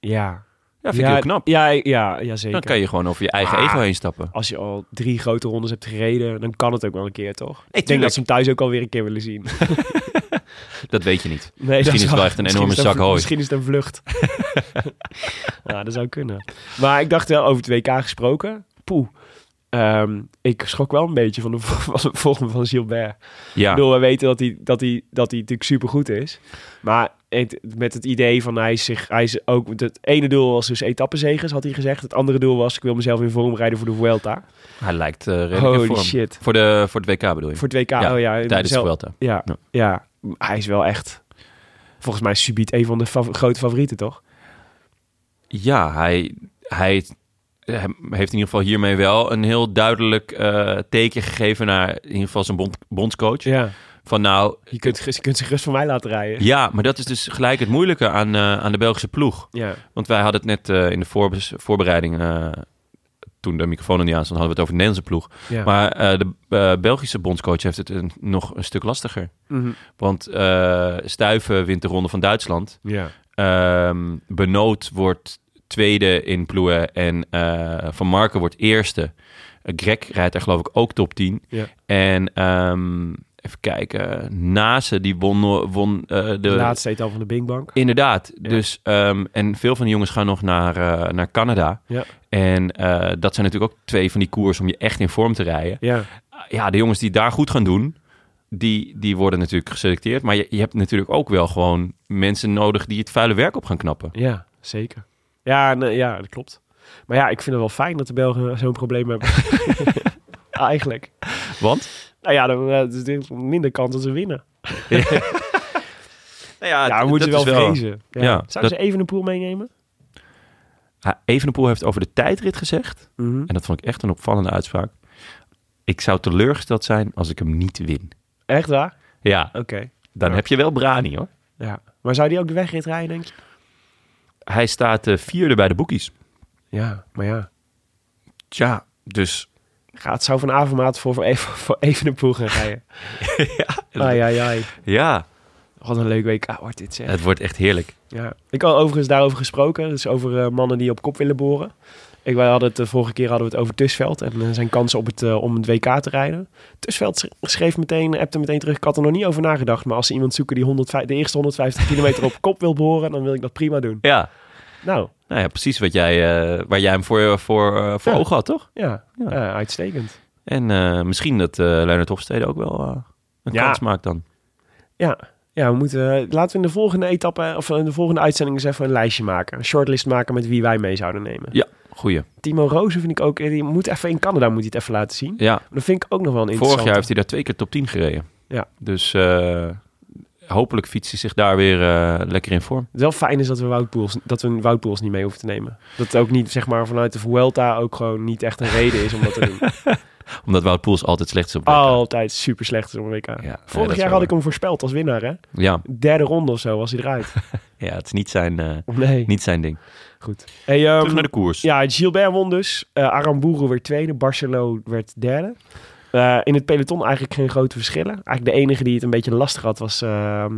ja.
Ja, vind ik heel knap.
Ja, ja, ja zeker.
Dan kan je gewoon over je eigen
Ah.
ego heen stappen.
Als je al drie grote rondes hebt gereden, dan kan het ook wel een keer, toch? ik denk
tuurlijk.
dat ze hem thuis ook alweer een keer willen zien. Nee,
Dat weet je niet.
dat
Misschien is het
waar.
wel echt een
Misschien
enorme
is het
zak hooi.
Misschien is het een vlucht. ja, dat zou kunnen. Maar ik dacht wel, over het WK gesproken, poeh. Ehm, ik schrok wel een beetje van de, van de volgende van Gilbert.
Ja,
Ik bedoel, we weten dat hij, dat hij, dat hij natuurlijk supergoed is. Maar het- met het idee van hij is zich... Hij is ook, het ene doel was dus etappezegers, had hij gezegd. Het andere doel was, ik wil mezelf in vorm rijden voor de Vuelta.
hij lijkt eh redelijk in
Holy
vorm.
shit.
Voor, de, voor het WK bedoel je?
Voor het WK,
Ja,
oh ja.
Tijdens de
zelf-
Vuelta.
Ja,
Ja.
ja. hij is wel echt... Volgens mij subiet een van de fav- grote favorieten, toch?
Ja, hij, hij, hij heeft in ieder geval hiermee wel een heel duidelijk eh, teken gegeven naar in ieder geval zijn bond, bondscoach.
Ja.
Van nou,
Je kunt, je kunt ze rust voor mij laten rijden.
ja, maar dat is dus gelijk het moeilijke aan, eh, aan de Belgische ploeg.
Ja.
Want wij hadden het net eh, in de voorbes- voorbereiding, eh, toen de microfoon er niet aan stond, hadden we het over de Nederlandse ploeg.
Ja.
Maar eh, de eh, Belgische bondscoach heeft het een- nog een stuk lastiger.
Mhm.
Want eh Stuiven wint de ronde van Duitsland.
ja.
Ehm, Benoot wordt tweede in ploegen en eh, Van Marken wordt eerste. Eh, Greg rijdt daar geloof ik ook top 10.
Ja.
En ehm, even kijken, Nase die won, no- won eh, de...
De laatste etappe van de Bing Bang.
Inderdaad. Dus, ehm, en veel van die jongens gaan nog naar, eh, naar Canada.
Ja.
En eh, dat zijn natuurlijk ook twee van die koers om je echt in vorm te rijden.
Ja.
Ja, de jongens die daar goed gaan doen, die, die worden natuurlijk geselecteerd. Maar je, je hebt natuurlijk ook wel gewoon mensen nodig die het vuile werk op gaan knappen.
Ja, zeker. Ja, nee, ja, dat klopt. Maar ja, ik vind het wel fijn dat de Belgen zo'n probleem hebben. Eigenlijk.
Want?
Nou ja, dan eh, dus er is minder kans dat ze winnen. Nou Ja, we moeten wel vrezen. Ja.
ja,
Zouden
dat-
ze even een pool meenemen?
Ha, Evenepoel heeft over de tijdrit gezegd, en dat vond ik echt een opvallende uitspraak. Ik zou teleurgesteld zijn als ik hem niet win.
Echt waar?
Ja,
Oké.
dan heb je wel brani hoor.
Ja. Maar zou die ook de wegrit rijden, denk je?
Hij staat eh, vierde bij de boekies.
Ja, maar ja.
Tja, dus
Gaat, zou van Avermaat voor, voor, even, voor even een ploeg gaan rijden. ja. Ai, ai, ai.
ja,
Wat een leuk WK wordt dit, zeg.
het wordt echt heerlijk.
Ja. Ik had overigens daarover gesproken. Dus over eh, mannen die op kop willen boren. Ik, wij hadden het de vorige keer hadden we het over Tusveld en eh, zijn kansen op het, eh, om het WK te rijden. Tusveld sch- schreef meteen, appte meteen terug. Ik had er nog niet over nagedacht. Maar als ze iemand zoeken die 105, de eerste 150 kilometer op kop wil boren, dan wil ik dat prima doen.
Ja,
Nou,
nou ja, precies wat jij, eh, waar jij hem voor, voor, eh, voor
Ja.
ogen had, toch?
ja,
Ja.
ja, uitstekend.
En eh, misschien dat eh Leonard Hofstede ook wel eh, een
Ja.
kans maakt dan.
Ja, ja we moeten, eh, laten we in de volgende etappe of in de volgende uitzending eens even een lijstje maken. Een shortlist maken met wie wij mee zouden nemen.
Ja, goeie.
Timo Rozen vind ik ook, eh, die moet even in Canada moet hij het even laten zien.
Ja,
Dat vind ik ook nog wel een interessante.
vorig jaar heeft hij daar twee keer top 10 gereden.
Ja.
Dus eh, hopelijk fietst hij zich daar weer eh, lekker in vorm.
Het wel fijn is dat we Wout Poels, dat we Wout Poels niet mee hoeven te nemen. Dat het ook niet, zeg maar, vanuit de Vuelta ook gewoon niet echt een reden is om dat te doen.
Omdat Wout Poels altijd slecht is op WK.
Altijd super slecht is om een WK.
nee, dat
Vorig
is
jaar
wel
had
waar.
ik hem voorspeld als winnaar, hè?
Ja,
Derde ronde of zo was hij eruit.
ja, het is niet zijn, eh,
Nee,
niet zijn ding.
goed. Hey, ehm,
Terug naar de koers.
Ja, Gilbert won dus. Eh Aramburu werd tweede. Barcelo werd derde. Eh, in het peloton eigenlijk geen grote verschillen. Eigenlijk de enige die het een beetje lastig had was ehm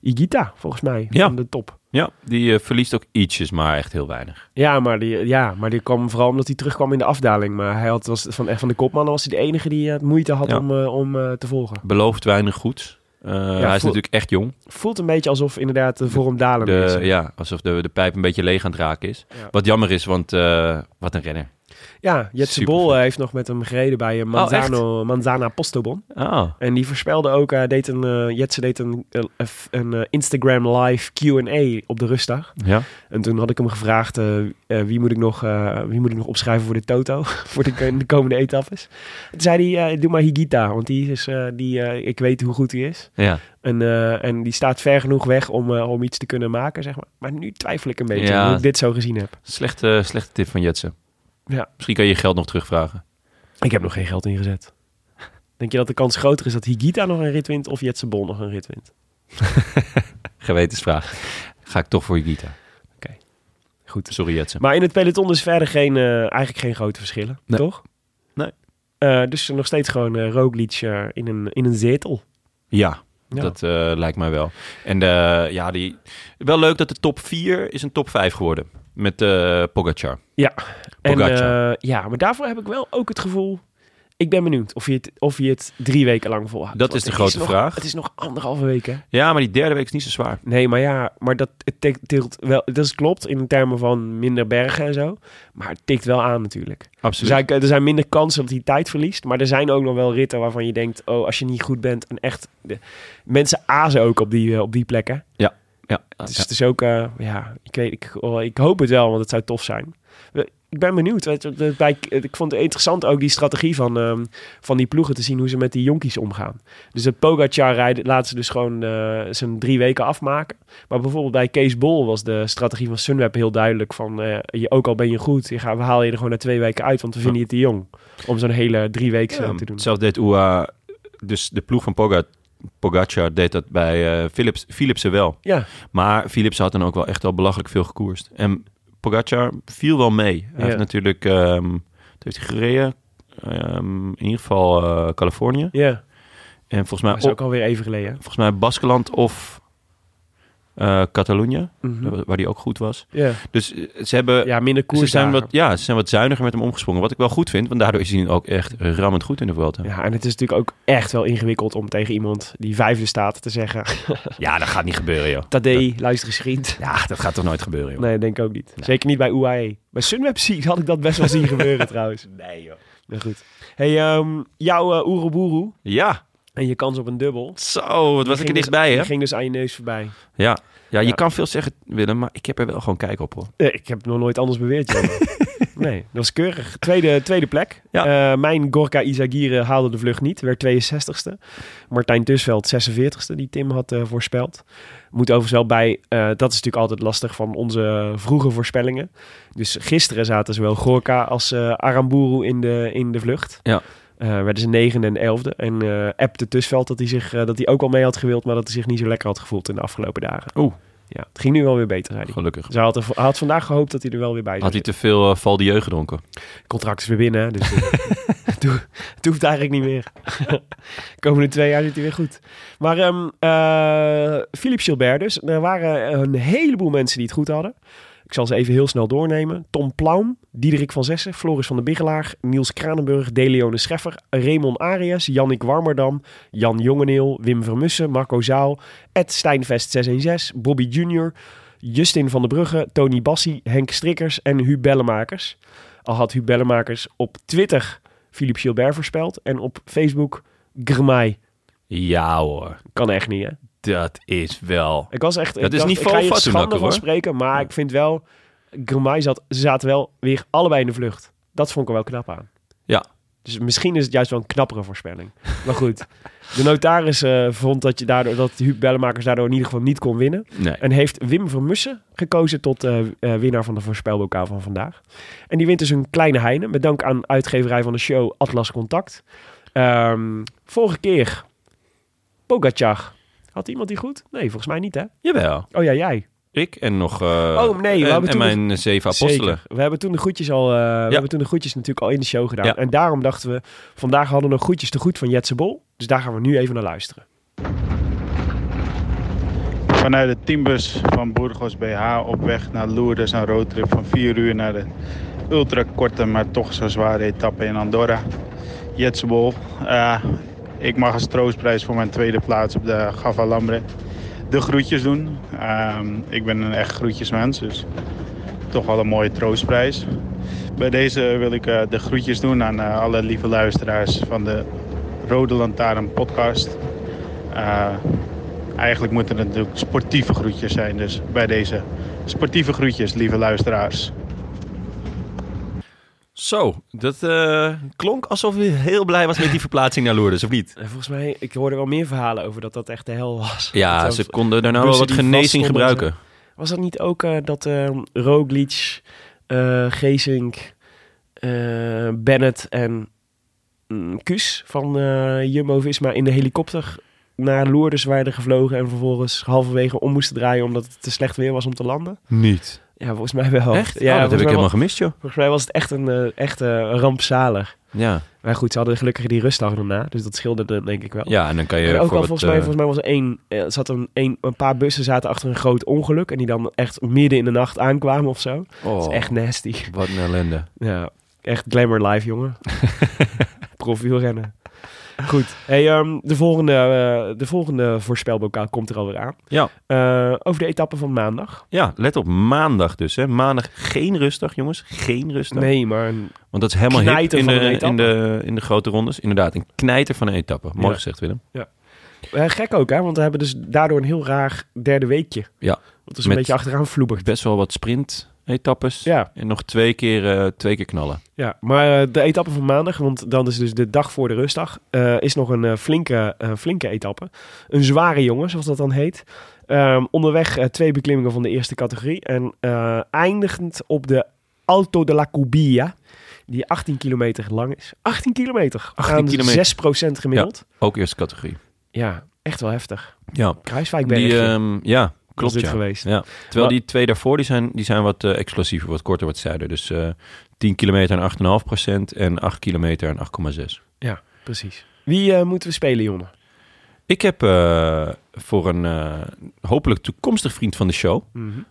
Igita, volgens mij.
Ja.
Van de top.
Ja, die eh, verliest ook ietsjes, maar echt heel weinig.
Ja maar, die, ja, maar die kwam vooral omdat hij terugkwam in de afdaling. Maar hij had, was van, van de kopmannen was hij de enige die eh, het moeite had
Ja.
om, eh, om eh, te volgen.
Belooft weinig goeds. Eh, hij is
voel-
natuurlijk echt jong.
Voelt een beetje alsof inderdaad de vorm dalende is.
De, ja, alsof de, de pijp een beetje leeg aan het raken is.
Ja.
Wat jammer is, want eh, wat een renner.
Ja, Jetse
Super
Bol
vet.
eh, heeft nog met hem gereden bij eh,
Oh,
Manzano, Manzana Postobon.
Ah,
En die voorspelde ook, eh, deed een, eh, Jetse deed een, eh, f- een eh, Instagram live Q&A op de rustdag.
ja.
En toen had ik hem gevraagd, eh, eh, wie, moet ik nog, eh, wie moet ik nog opschrijven voor de Toto? voor de, de komende etappes. Toen zei hij, eh, doe maar Higita, want die is, eh, die, eh, ik weet hoe goed hij is.
Ja,
En, eh, en die staat ver genoeg weg om, eh, om iets te kunnen maken, zeg maar. Maar nu twijfel ik een beetje,
Ja.
omdat ik dit zo gezien heb.
slechte, slechte tip van Jetsen.
Ja.
Misschien kan je je geld nog terugvragen.
Ik heb nog geen geld ingezet. Denk je dat de kans groter is dat Higita nog een rit wint of Jetse Bol nog een rit wint?
Gewetensvraag. Ga ik toch voor je Gita.
Oké.
Goed. Sorry Jetsen.
Maar in het peloton dus verder geen, eh, eigenlijk geen grote verschillen,
Nee.
toch?
Nee.
Eh, dus nog steeds gewoon eh Roglic eh, in, een, in een zetel.
Ja,
Ja.
dat eh, lijkt mij wel. En eh, ja, die... wel leuk dat de top 4 is een top 5 geworden. Met eh Pogacar.
Ja. En,
Pogacar.
eh, ja, maar daarvoor heb ik wel ook het gevoel... Ik ben benieuwd of je het, of je het drie weken lang volhoudt.
Dat
Want
is de
het
grote
nog-
vraag.
Het is nog anderhalve week, hè?
Ja, maar die derde week is niet zo zwaar.
Nee, maar ja, maar dat het tikt, tilt wel... Dat is klopt in termen van minder bergen en zo. Maar het tikt wel aan natuurlijk. Er
Absoluut.
zijn, er zijn minder kansen dat hij tijd verliest. Maar er zijn ook nog wel ritten waarvan je denkt... Oh, als je niet goed bent en echt... De, mensen azen ook op die, eh, op die plekken.
Ja,
Dus
ja.
het is ook, eh, ja, ik, weet, ik, oh, ik hoop het wel, want het zou tof zijn. We- Ik ben benieuwd. Weet je, dat bij- eh, Ik vond het interessant ook die strategie van, ehm, van die ploegen te zien hoe ze met die jonkies omgaan. Dus het Pogacar rijden laten ze dus gewoon eh, zijn drie weken afmaken. Maar bijvoorbeeld bij Kees Bol was de strategie van Sunweb heel duidelijk van eh, je, ook al ben je goed, je gaat, we halen je er gewoon na twee weken uit, want we vinden je te jong om zo'n hele drie weken
Ja,
te doen.
Zelfs deed Oeha, dus de ploeg van Poga- Pogacar deed dat bij eh Philips, Philipsen wel.
Ja,
Maar Philipsen had dan ook wel echt al belachelijk veel gekoerst. En Pogacar viel wel mee. Hij
Ja.
heeft natuurlijk, ehm wat heeft hij gereden? Ehm, in ieder geval eh, Californië.
ja.
En volgens
Dat
mij,
is
op-
ook alweer even geleden.
volgens mij Baskeland of eh Catalonië,
Mhm.
waar hij ook goed was.
Ja.
Dus eh, ze hebben...
ja, minder koers.
Ze zijn, wat, ja, ze zijn wat zuiniger met hem omgesprongen. Wat ik wel goed vind, want daardoor is hij ook echt rammend goed in de Vuelta.
Ja, en het is natuurlijk ook echt wel ingewikkeld om tegen iemand die vijfde staat te zeggen...
Ja, dat gaat niet gebeuren, joh.
Tadee, luister eens vriend.
Ja, dat gaat toch nooit gebeuren, joh.
Nee, denk ik ook niet. Zeker niet bij UAE. Bij Sunweb zie, had ik dat best wel zien gebeuren trouwens. Nee joh. Maar goed. hey, ehm, jouw eh Oeroboeroe
Ja,
en je kans op een dubbel...
zo, wat was ik er
ging dus-
dichtbij,
die
hè?
ging dus aan je neus voorbij.
Ja. Ja, je
Ja.
kan veel zeggen, Willem, maar ik heb er wel gewoon kijk op, hoor.
Eh, ik heb nog nooit anders beweerd, Jan. nee, dat was keurig. Tweede, tweede plek.
Ja.
Eh, mijn Gorka Izagire haalde de vlucht niet. Werd 62ste. Martijn Tusveld 46ste, die Tim had eh, voorspeld. Moet overigens wel bij... eh, dat is natuurlijk altijd lastig van onze vroege voorspellingen. Dus gisteren zaten zowel Gorka als eh Aramburu in de, in de vlucht.
Ja.
eh, werden ze negende en elfde. En eh appte Tusveld dat hij, zich, eh, dat hij ook al mee had gewild, maar dat hij zich niet zo lekker had gevoeld in de afgelopen dagen.
Oeh.
Ja, het ging nu wel weer beter, zei hij.
Gelukkig.
Dus hij had, er- hij had vandaag gehoopt dat hij er wel weer bij zou
Had hij te veel uh, Valdieu gedronken?
contract is weer binnen, hè, dus eh, het hoeft- het hoeft eigenlijk niet meer. Komende twee jaar zit hij weer goed. Maar ehm eh, Philippe Gilbert dus. Er waren een heleboel mensen die het goed hadden. Ik zal ze even heel snel doornemen. Tom Plaum, Diederik van Zessen, Floris van der Bigelaar, Niels Kranenburg, Deleone Scheffer, Raymond Arias, Jannik Warmerdam, Jan Jongeneel, Wim Vermussen, Marco Zaal, Ed Stijnvest 616, Bobby Junior, Justin van der Brugge, Tony Bassi, Henk Strikkers en Huub Bellemakers. Al had Huub Bellemakers op Twitter Philippe Gilbert voorspeld en op Facebook Grmai.
Ja hoor,
Kan echt niet, hè?
dat is wel...
Ik was echt...
Dat
ik
is
dacht,
niet
ik ga hier
Val
schande
Fatsoenakker,
van
hoor.
spreken, maar ik vind wel... Grmai zat, ze zaten wel weer allebei in de vlucht. Dat vond ik er wel knap aan.
Ja.
Dus misschien is het juist wel een knappere voorspelling. Maar goed, de notaris eh, vond dat, je daardoor, dat Huub Bellemakers daardoor in ieder geval niet kon winnen.
Nee.
En heeft Wim Vermussen gekozen tot eh, eh, winnaar van de voorspelbokaal van vandaag. En die wint dus een kleine heine. Met dank aan uitgeverij van de show Atlas Contact. Ehm, vorige keer, Pogacar. Had iemand die goed? Nee, volgens mij niet hè?
Jawel,
Oh ja, jij.
ik en nog... eh,
Oh, nee, we
en,
hebben
en
toen
mijn eh, zeven apostelen.
Zeker. We hebben toen de groetjes al, eh, we hebben toen de groetjes natuurlijk al in de show gedaan.
Ja.
En daarom dachten we, vandaag hadden we nog groetjes te goed van Jetse Bol. Dus daar gaan we nu even naar luisteren.
Vanuit de teambus van Burgos BH op weg naar Lourdes. Een roadtrip van 4 uur naar de ultrakorte, maar toch zo zware etappe in Andorra. Jetsbol. Eh, ik mag als troostprijs voor mijn tweede plaats op de Gava Lambre de groetjes doen. Ehm, ik ben een echt groetjesmens, dus toch wel een mooie troostprijs. Bij deze wil ik eh, de groetjes doen aan eh, alle lieve luisteraars van de Rode Lantaarn podcast. Eh, Eigenlijk moeten het natuurlijk sportieve groetjes zijn. Dus bij deze sportieve groetjes, lieve luisteraars.
Zo, dat eh, klonk alsof hij heel blij was met die verplaatsing naar Lourdes, of niet?
En volgens mij, ik hoorde wel meer verhalen over dat dat echt de hel was.
Ja,
Dat
ze
zelfs-
konden daarna wel
bussen
wat
die
genezing
vaststonden en
gebruiken.
Was dat niet ook eh, dat ehm Roglic, eh Geesink, eh, Bennett en mm, Kuus van eh, Jumbo-Visma in de helikopter naar Lourdes werden gevlogen en vervolgens halverwege om moesten draaien omdat het te slecht weer was om te landen?
Niet.
Ja, volgens mij wel.
Echt?
Ja,
Oh. Ja, dat heb ik
volgens mij
helemaal
wel-
gemist, joh.
Volgens mij was het echt een, eh, echt, eh, rampzalig.
Ja.
Maar goed, ze hadden gelukkig die rustdag daarna, dus dat scheelde denk ik wel.
ja, en dan kan je...
En ook
voor
al
het,
volgens mij,
eh,
volgens mij was er één, eh, er zat een, een, een paar bussen zaten achter een groot ongeluk. En die dan echt midden in de nacht aankwamen of zo. Dat
Oh.
is echt nasty.
Wat een ellende.
Ja, echt glamour life, jongen. Profielrennen. Goed. Hey, ehm, de, volgende, eh, de volgende voorspelbokaal komt er alweer aan.
Ja.
Eh, over de etappe van maandag.
Ja, let op maandag dus. Hè. Maandag geen rustig, jongens. Geen rustig.
Nee, maar een
Want dat is helemaal hip
knijter
in
van een
de,
etappe.
in, de, in de grote rondes. Inderdaad, een knijter van een etappe. Mooi
Ja.
gezegd, Willem.
Eh, gek ook, hè? Want we hebben dus daardoor een heel raar derde weekje.
Ja.
Dat is een
Met-
beetje achteraan vloebig.
Best wel wat sprint-etappes.
Ja.
En nog twee keer, eh, twee keer knallen.
Ja, maar eh, de etappe van maandag, want dan is dus de dag voor de rustdag, eh, is nog een eh, flinke, eh, flinke etappe. Een zware jongen, zoals dat dan heet. Ehm, onderweg eh, twee beklimmingen van de eerste categorie. En eh, eindigend op de Alto de la Cubilla, die 18 kilometer lang is. 18 kilometer!
18
Aan
kilometer.
6% gemiddeld.
Ook eerste categorie.
Ja. echt wel heftig.
Ja.
Kruiswijkbergje
Die, ehm, ja, klopt
dit
ja.
geweest.
Ja. Terwijl
Maar-
die twee daarvoor, die zijn, die zijn wat eh, explosiever, wat korter, wat zuider. Dus eh 10 kilometer aan 8,5 en 8 kilometer aan 8,6.
Ja, precies. Wie eh, moeten we spelen, Jonne?
Ik heb eh, voor een eh, hopelijk toekomstig vriend van de show... eh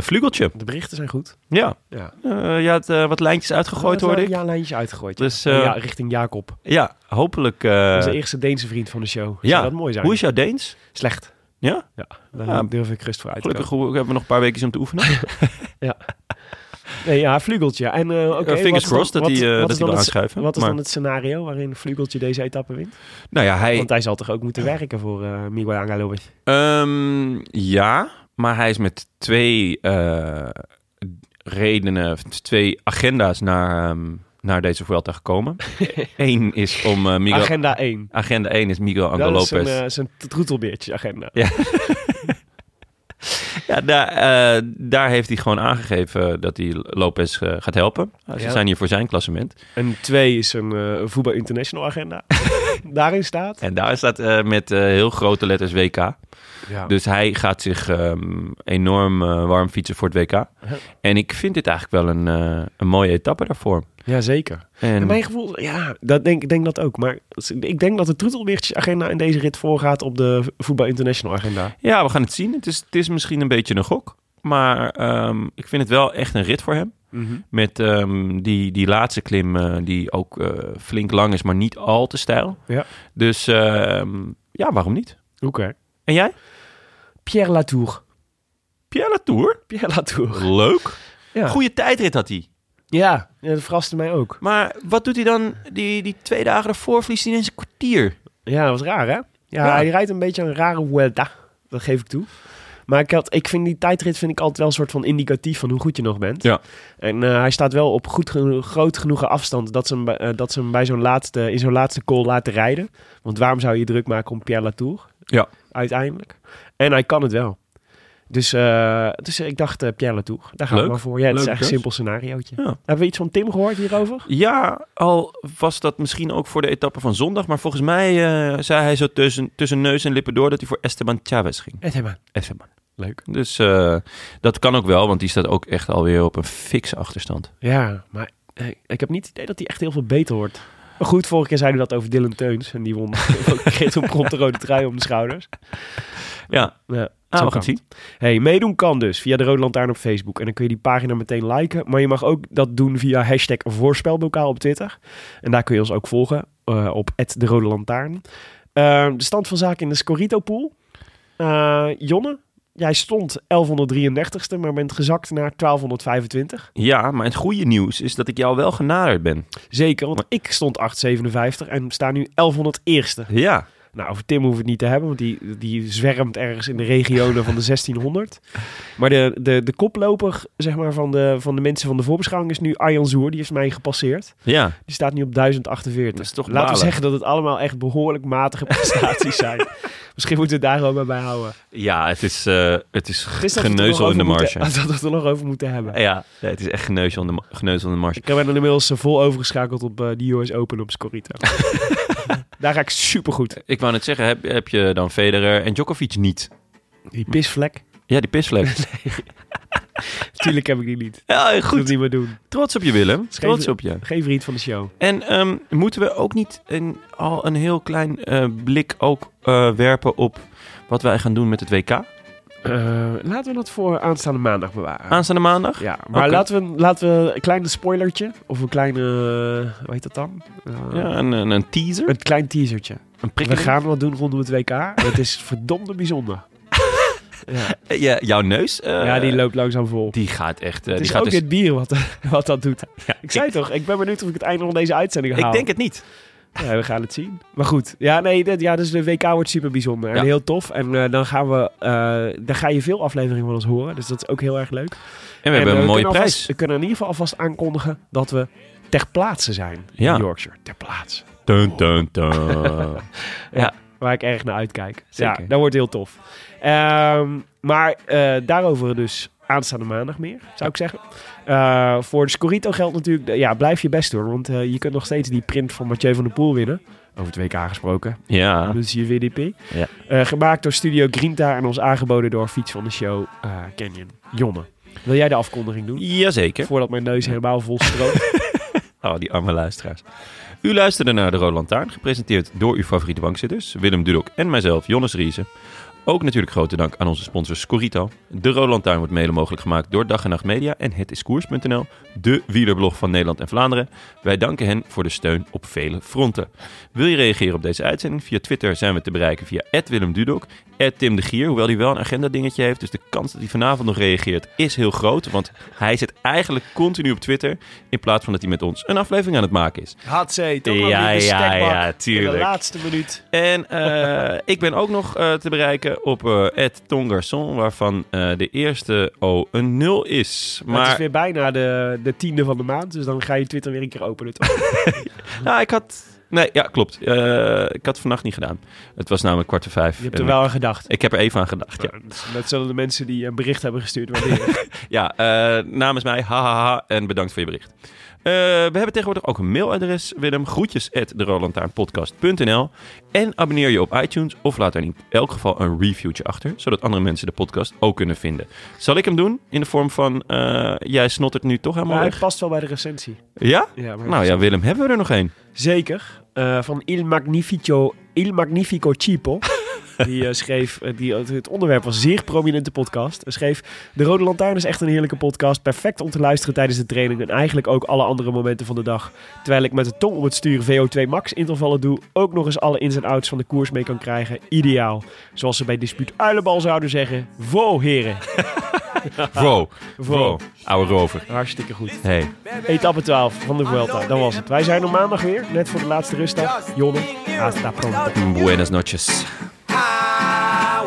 Vlugeltje.
De berichten zijn goed.
Ja.
Ja.
Eh, je had eh, wat lijntjes uitgegooid,
Ja,
hoorde ik.
Ja, lijntje uitgegooid. ja.
Dus, eh,
ja, richting Jacob.
Ja, hopelijk. eh,
Onze eerste Deense vriend van de show. Zou
ja.
dat mooi zijn?
Hoe is jouw Deens?
Slecht.
Ja?
Ja, daar
Ja.
durf ik rust voor uit te
Gelukkig
komen.
hoe- hebben we nog een paar weken om te oefenen.
Nee, ja, Vlugeltje. En, eh oké,
Eh, fingers
wat is dan-
crossed dat
wat-
hij, eh,
wat
dat
is
hij
dan
wil
het-
aanschuiven,
Wat is dan
maar-
het scenario waarin Vlugeltje deze etappe wint?
nou ja, hij.
Want hij zal toch ook moeten werken voor eh Miguel Angel Lopez?
ehm, ja, maar hij is met twee eh, redenen, of twee agenda's naar, ehm, naar deze Vuelta gekomen. Eén is om eh, Miguel.
Agenda 1.
Agenda 1 is Miguel Angel
dat is eh,
Lopez.
zijn, eh, zijn troetelbeertje agenda.
Ja. Ja, daar, eh, daar heeft hij gewoon aangegeven dat hij Lopez eh, gaat helpen. Ze
Ja.
zijn hier voor zijn klassement.
En twee is een eh, voetbal international agenda. Daarin staat.
En daar staat eh, met eh, heel grote letters WK.
Ja.
Dus hij gaat zich ehm, enorm eh, warm fietsen voor het WK. En ik vind dit eigenlijk wel een, eh, een mooie etappe daarvoor.
Jazeker.
En,
En mijn gevoel, ja, dat denk, ik denk dat ook. Maar ik denk dat de troetelbeertjes agenda in deze rit voorgaat op de voetbal international agenda.
Ja, we gaan het zien. Het is, het is misschien een beetje een gok. Maar ehm, ik vind het wel echt een rit voor hem.
Mhm.
Met ehm, die, die laatste klim, eh, die ook eh, flink lang is, maar niet al te stijl.
Ja.
Dus ehm, ja, waarom niet?
Oké.
En jij?
Pierre Latour.
Pierre Latour?
Pierre Latour.
Leuk.
Ja.
Goede tijdrit had hij.
Ja, ja, dat verraste mij ook.
Maar wat doet hij dan die, die twee dagen daarvoor? Verliest hij ineens een kwartier?
Ja, dat was raar, hè? Ja,
Ja.
hij rijdt een beetje een rare Vuelta. Dat geef ik toe. Maar ik, had, ik vind die tijdrit vind ik altijd wel een soort van indicatief van hoe goed je nog bent.
Ja.
En eh, hij staat wel op goed geno- groot genoeg afstand dat ze hem, bij- eh, dat ze hem bij zo'n laatste, in zo'n laatste call laten rijden. Want waarom zou je druk maken om Pierre Latour?
Ja.
Uiteindelijk. En hij kan het wel. Dus, eh, dus ik dacht eh, Pierre Latour, daar gaan
Leuk.
we maar voor. Ja, het is
Leuke
echt een simpel scenariootje.
Ja.
Hebben we iets van Tim gehoord hierover?
Ja, al was dat misschien ook voor de etappe van zondag. Maar volgens mij eh, zei hij zo tussen, tussen neus en lippen door dat hij voor Esteban Chavez ging.
Esteban.
Esteban.
Leuk.
Dus eh, dat kan ook wel, want die staat ook echt alweer op een fikse achterstand.
Ja, maar eh, ik heb niet het idee dat hij echt heel veel beter wordt. Maar goed, vorige keer zeiden we dat over Dylan Teuns. En die won. kreeg toen prompt de rode trui om de schouders.
Ja, ah,
Ja, zo
gaan
kan
het zien.
het. Hey, meedoen kan dus via de Rode Lantaarn op Facebook. En dan kun je die pagina meteen liken. Maar je mag ook dat doen via hashtag voorspelbokaal op Twitter. En daar kun je ons ook volgen eh, op de Rode Lantaarn. Eh, de stand van zaken in de Scorito Pool. Eh, Jonne, jij stond 1133ste, maar bent gezakt naar 1225.
Ja, maar het goede nieuws is dat ik jou wel genaderd ben.
Zeker, want ik stond 8,57 en sta nu 1101ste.
Ja.
Nou, over Tim hoeven we het niet te hebben, want die, die zwermt ergens in de regionen van de 1600. Maar de, de, de koploper zeg maar, van, de, van de mensen van de voorbeschouwing is nu Arjan Zoer. Die heeft mij gepasseerd.
Ja.
Die staat nu op 1048.
Dat is toch
Laten
balen.
we zeggen dat het allemaal echt behoorlijk matige prestaties zijn. Misschien moeten we het daar gewoon bij houden.
Ja, het is, eh, het is
Het is dat we het er nog
geneuzel in de
over
marge.
Moeten, dat we het er nog over moeten hebben.
Ja, nee, het is echt geneuzel in de, ma- geneuzel in de marge.
Ik ben er inmiddels eh, vol overgeschakeld op eh, de US Open op Scorito. daar ga ik supergoed.
Ik wou net zeggen, heb, heb je dan Federer en Djokovic niet?
Die pisvlek.
Ja, die pisvlek.
Tuurlijk heb ik die niet.
Ja,
Dat wil ik
goed.
niet meer doen.
Trots op je, Willem.
Schreef-
Trots op je.
Geen vriend van de show.
En ehm, moeten we ook niet een, al een heel klein eh, blik ook eh, werpen op wat wij gaan doen met het WK?
Eh, laten we dat voor aanstaande maandag bewaren.
Aanstaande maandag?
ja, maar
Oké.
laten, we, laten we een kleine spoilertje. Of een kleine... eh, hoe heet dat dan? Eh,
Ja, een, een, een teaser,
Een klein teasertje.
een
We
prikkeling.
gaan wat doen rondom het WK. En Het is verdomde bijzonder. ja.
Eh, ja, jouw neus, eh,
ja, die loopt langzaam vol.
die gaat echt... eh,
het
die
is
gaat
ook
dus-
het bier wat, wat dat doet.
Ja,
Ik zei Nou. toch, ik ben benieuwd of ik het einde van deze uitzending haal.
ik denk het niet.
Ja, we gaan het zien. Maar goed, ja, nee, dit, ja, dus de WK wordt super bijzonder en
Ja.
heel tof. En eh, dan gaan we, eh, dan ga je veel afleveringen van ons horen, dus dat is ook heel erg leuk. eh,
En we hebben een mooie
kunnen
prijs.
alvast- we kunnen in ieder geval alvast aankondigen dat we ter plaatse zijn
Ja.
in Yorkshire. Ter plaatse.
Dun, dun, dun.
Waar ik erg naar uitkijk.
Zeker.
Ja, dat wordt heel tof. Ehm, maar eh, daarover dus aanstaande maandag meer, zou ik zeggen. Eh, voor de Scorito geldt natuurlijk... Ja, blijf je best doen, want eh, je kunt nog steeds die print van Mathieu van der Poel winnen. Over het WK gesproken.
ja,
Monsieur WDP.
Ja.
Eh, gemaakt door Studio Grinta en ons aangeboden door Fiets van de Show eh, Canyon. Jonne, wil jij de afkondiging doen?
jazeker.
Voordat mijn neus helemaal vol stroomt.
Oh, die arme luisteraars. U luisterde naar De Rode Lantaarn, gepresenteerd door uw favoriete bankzitters... Willem Dudok en mijzelf, Jonnes Riese. Ook natuurlijk grote dank aan onze sponsor Scorito. De Rode Lantaarn wordt mede mogelijk gemaakt door Dag en Nacht Media... en het is koers.nl, de wielerblog van Nederland en Vlaanderen. Wij danken hen voor de steun op vele fronten. Wil je reageren op deze uitzending? Via Twitter zijn we te bereiken via Willem Dudok, Tim de Gier... hoewel hij wel een agenda dingetje heeft... dus de kans dat hij vanavond nog reageert is heel groot... want hij zit eigenlijk continu op Twitter... in plaats van dat hij met ons een aflevering aan het maken is.
Hatzee, toch wel
Ja,
weer de
ja,
stekbak
ja,
In
tuurlijk.
de laatste minuut.
En eh, ik ben ook nog eh, te bereiken op eh @tongarson, waarvan eh, de eerste O een 0 is.
Maar... Het is
Maar
weer bijna de, de tiende van de maand, dus dan ga je Twitter weer een keer openen. toch?
nou, ik had Nee, ja, klopt. Eh, ik had het vannacht niet gedaan. Het was namelijk kwart voor vijf.
Je hebt
En
er wel
ik-
aan gedacht.
Ik heb er even aan gedacht, ja.
Dat zullen de mensen die een bericht hebben gestuurd waarderen.
Ja, eh, namens mij, hahaha, en bedankt voor je bericht. Eh, we hebben tegenwoordig ook een mailadres, Willem. Groetjes at derolantaarnpodcast.nl En abonneer je op iTunes of laat er in elk geval een reviewtje achter, zodat andere mensen de podcast ook kunnen vinden. Zal ik hem doen? In de vorm van, eh, jij snottert nu toch helemaal
maar hij
weg?
past wel bij de recensie.
Ja?
Ja, maar-
nou ja, Willem, hebben we er nog één?
Zeker. Eh, van Il Magnifico, Il Magnifico Cipo. Die eh, schreef, eh, die, het onderwerp was zeer prominente podcast. Hij schreef, De Rode Lantaarn is echt een heerlijke podcast. Perfect om te luisteren tijdens de training en eigenlijk ook alle andere momenten van de dag. Terwijl ik met de tong op het stuur VO2 max intervallen doe. Ook nog eens alle ins en outs van de koers mee kan krijgen. Ideaal. Zoals ze bij Dispuut Uilenbal zouden zeggen. Vo heren.
Wow,
Ah. Wow.
wow, oude rover.
Hartstikke goed.
Hey.
Etappe 12 van de Vuelta, dat was het. Wij zijn er maandag weer, net voor de laatste rustdag. Jonne, hasta pronto.
Buenas noches.
I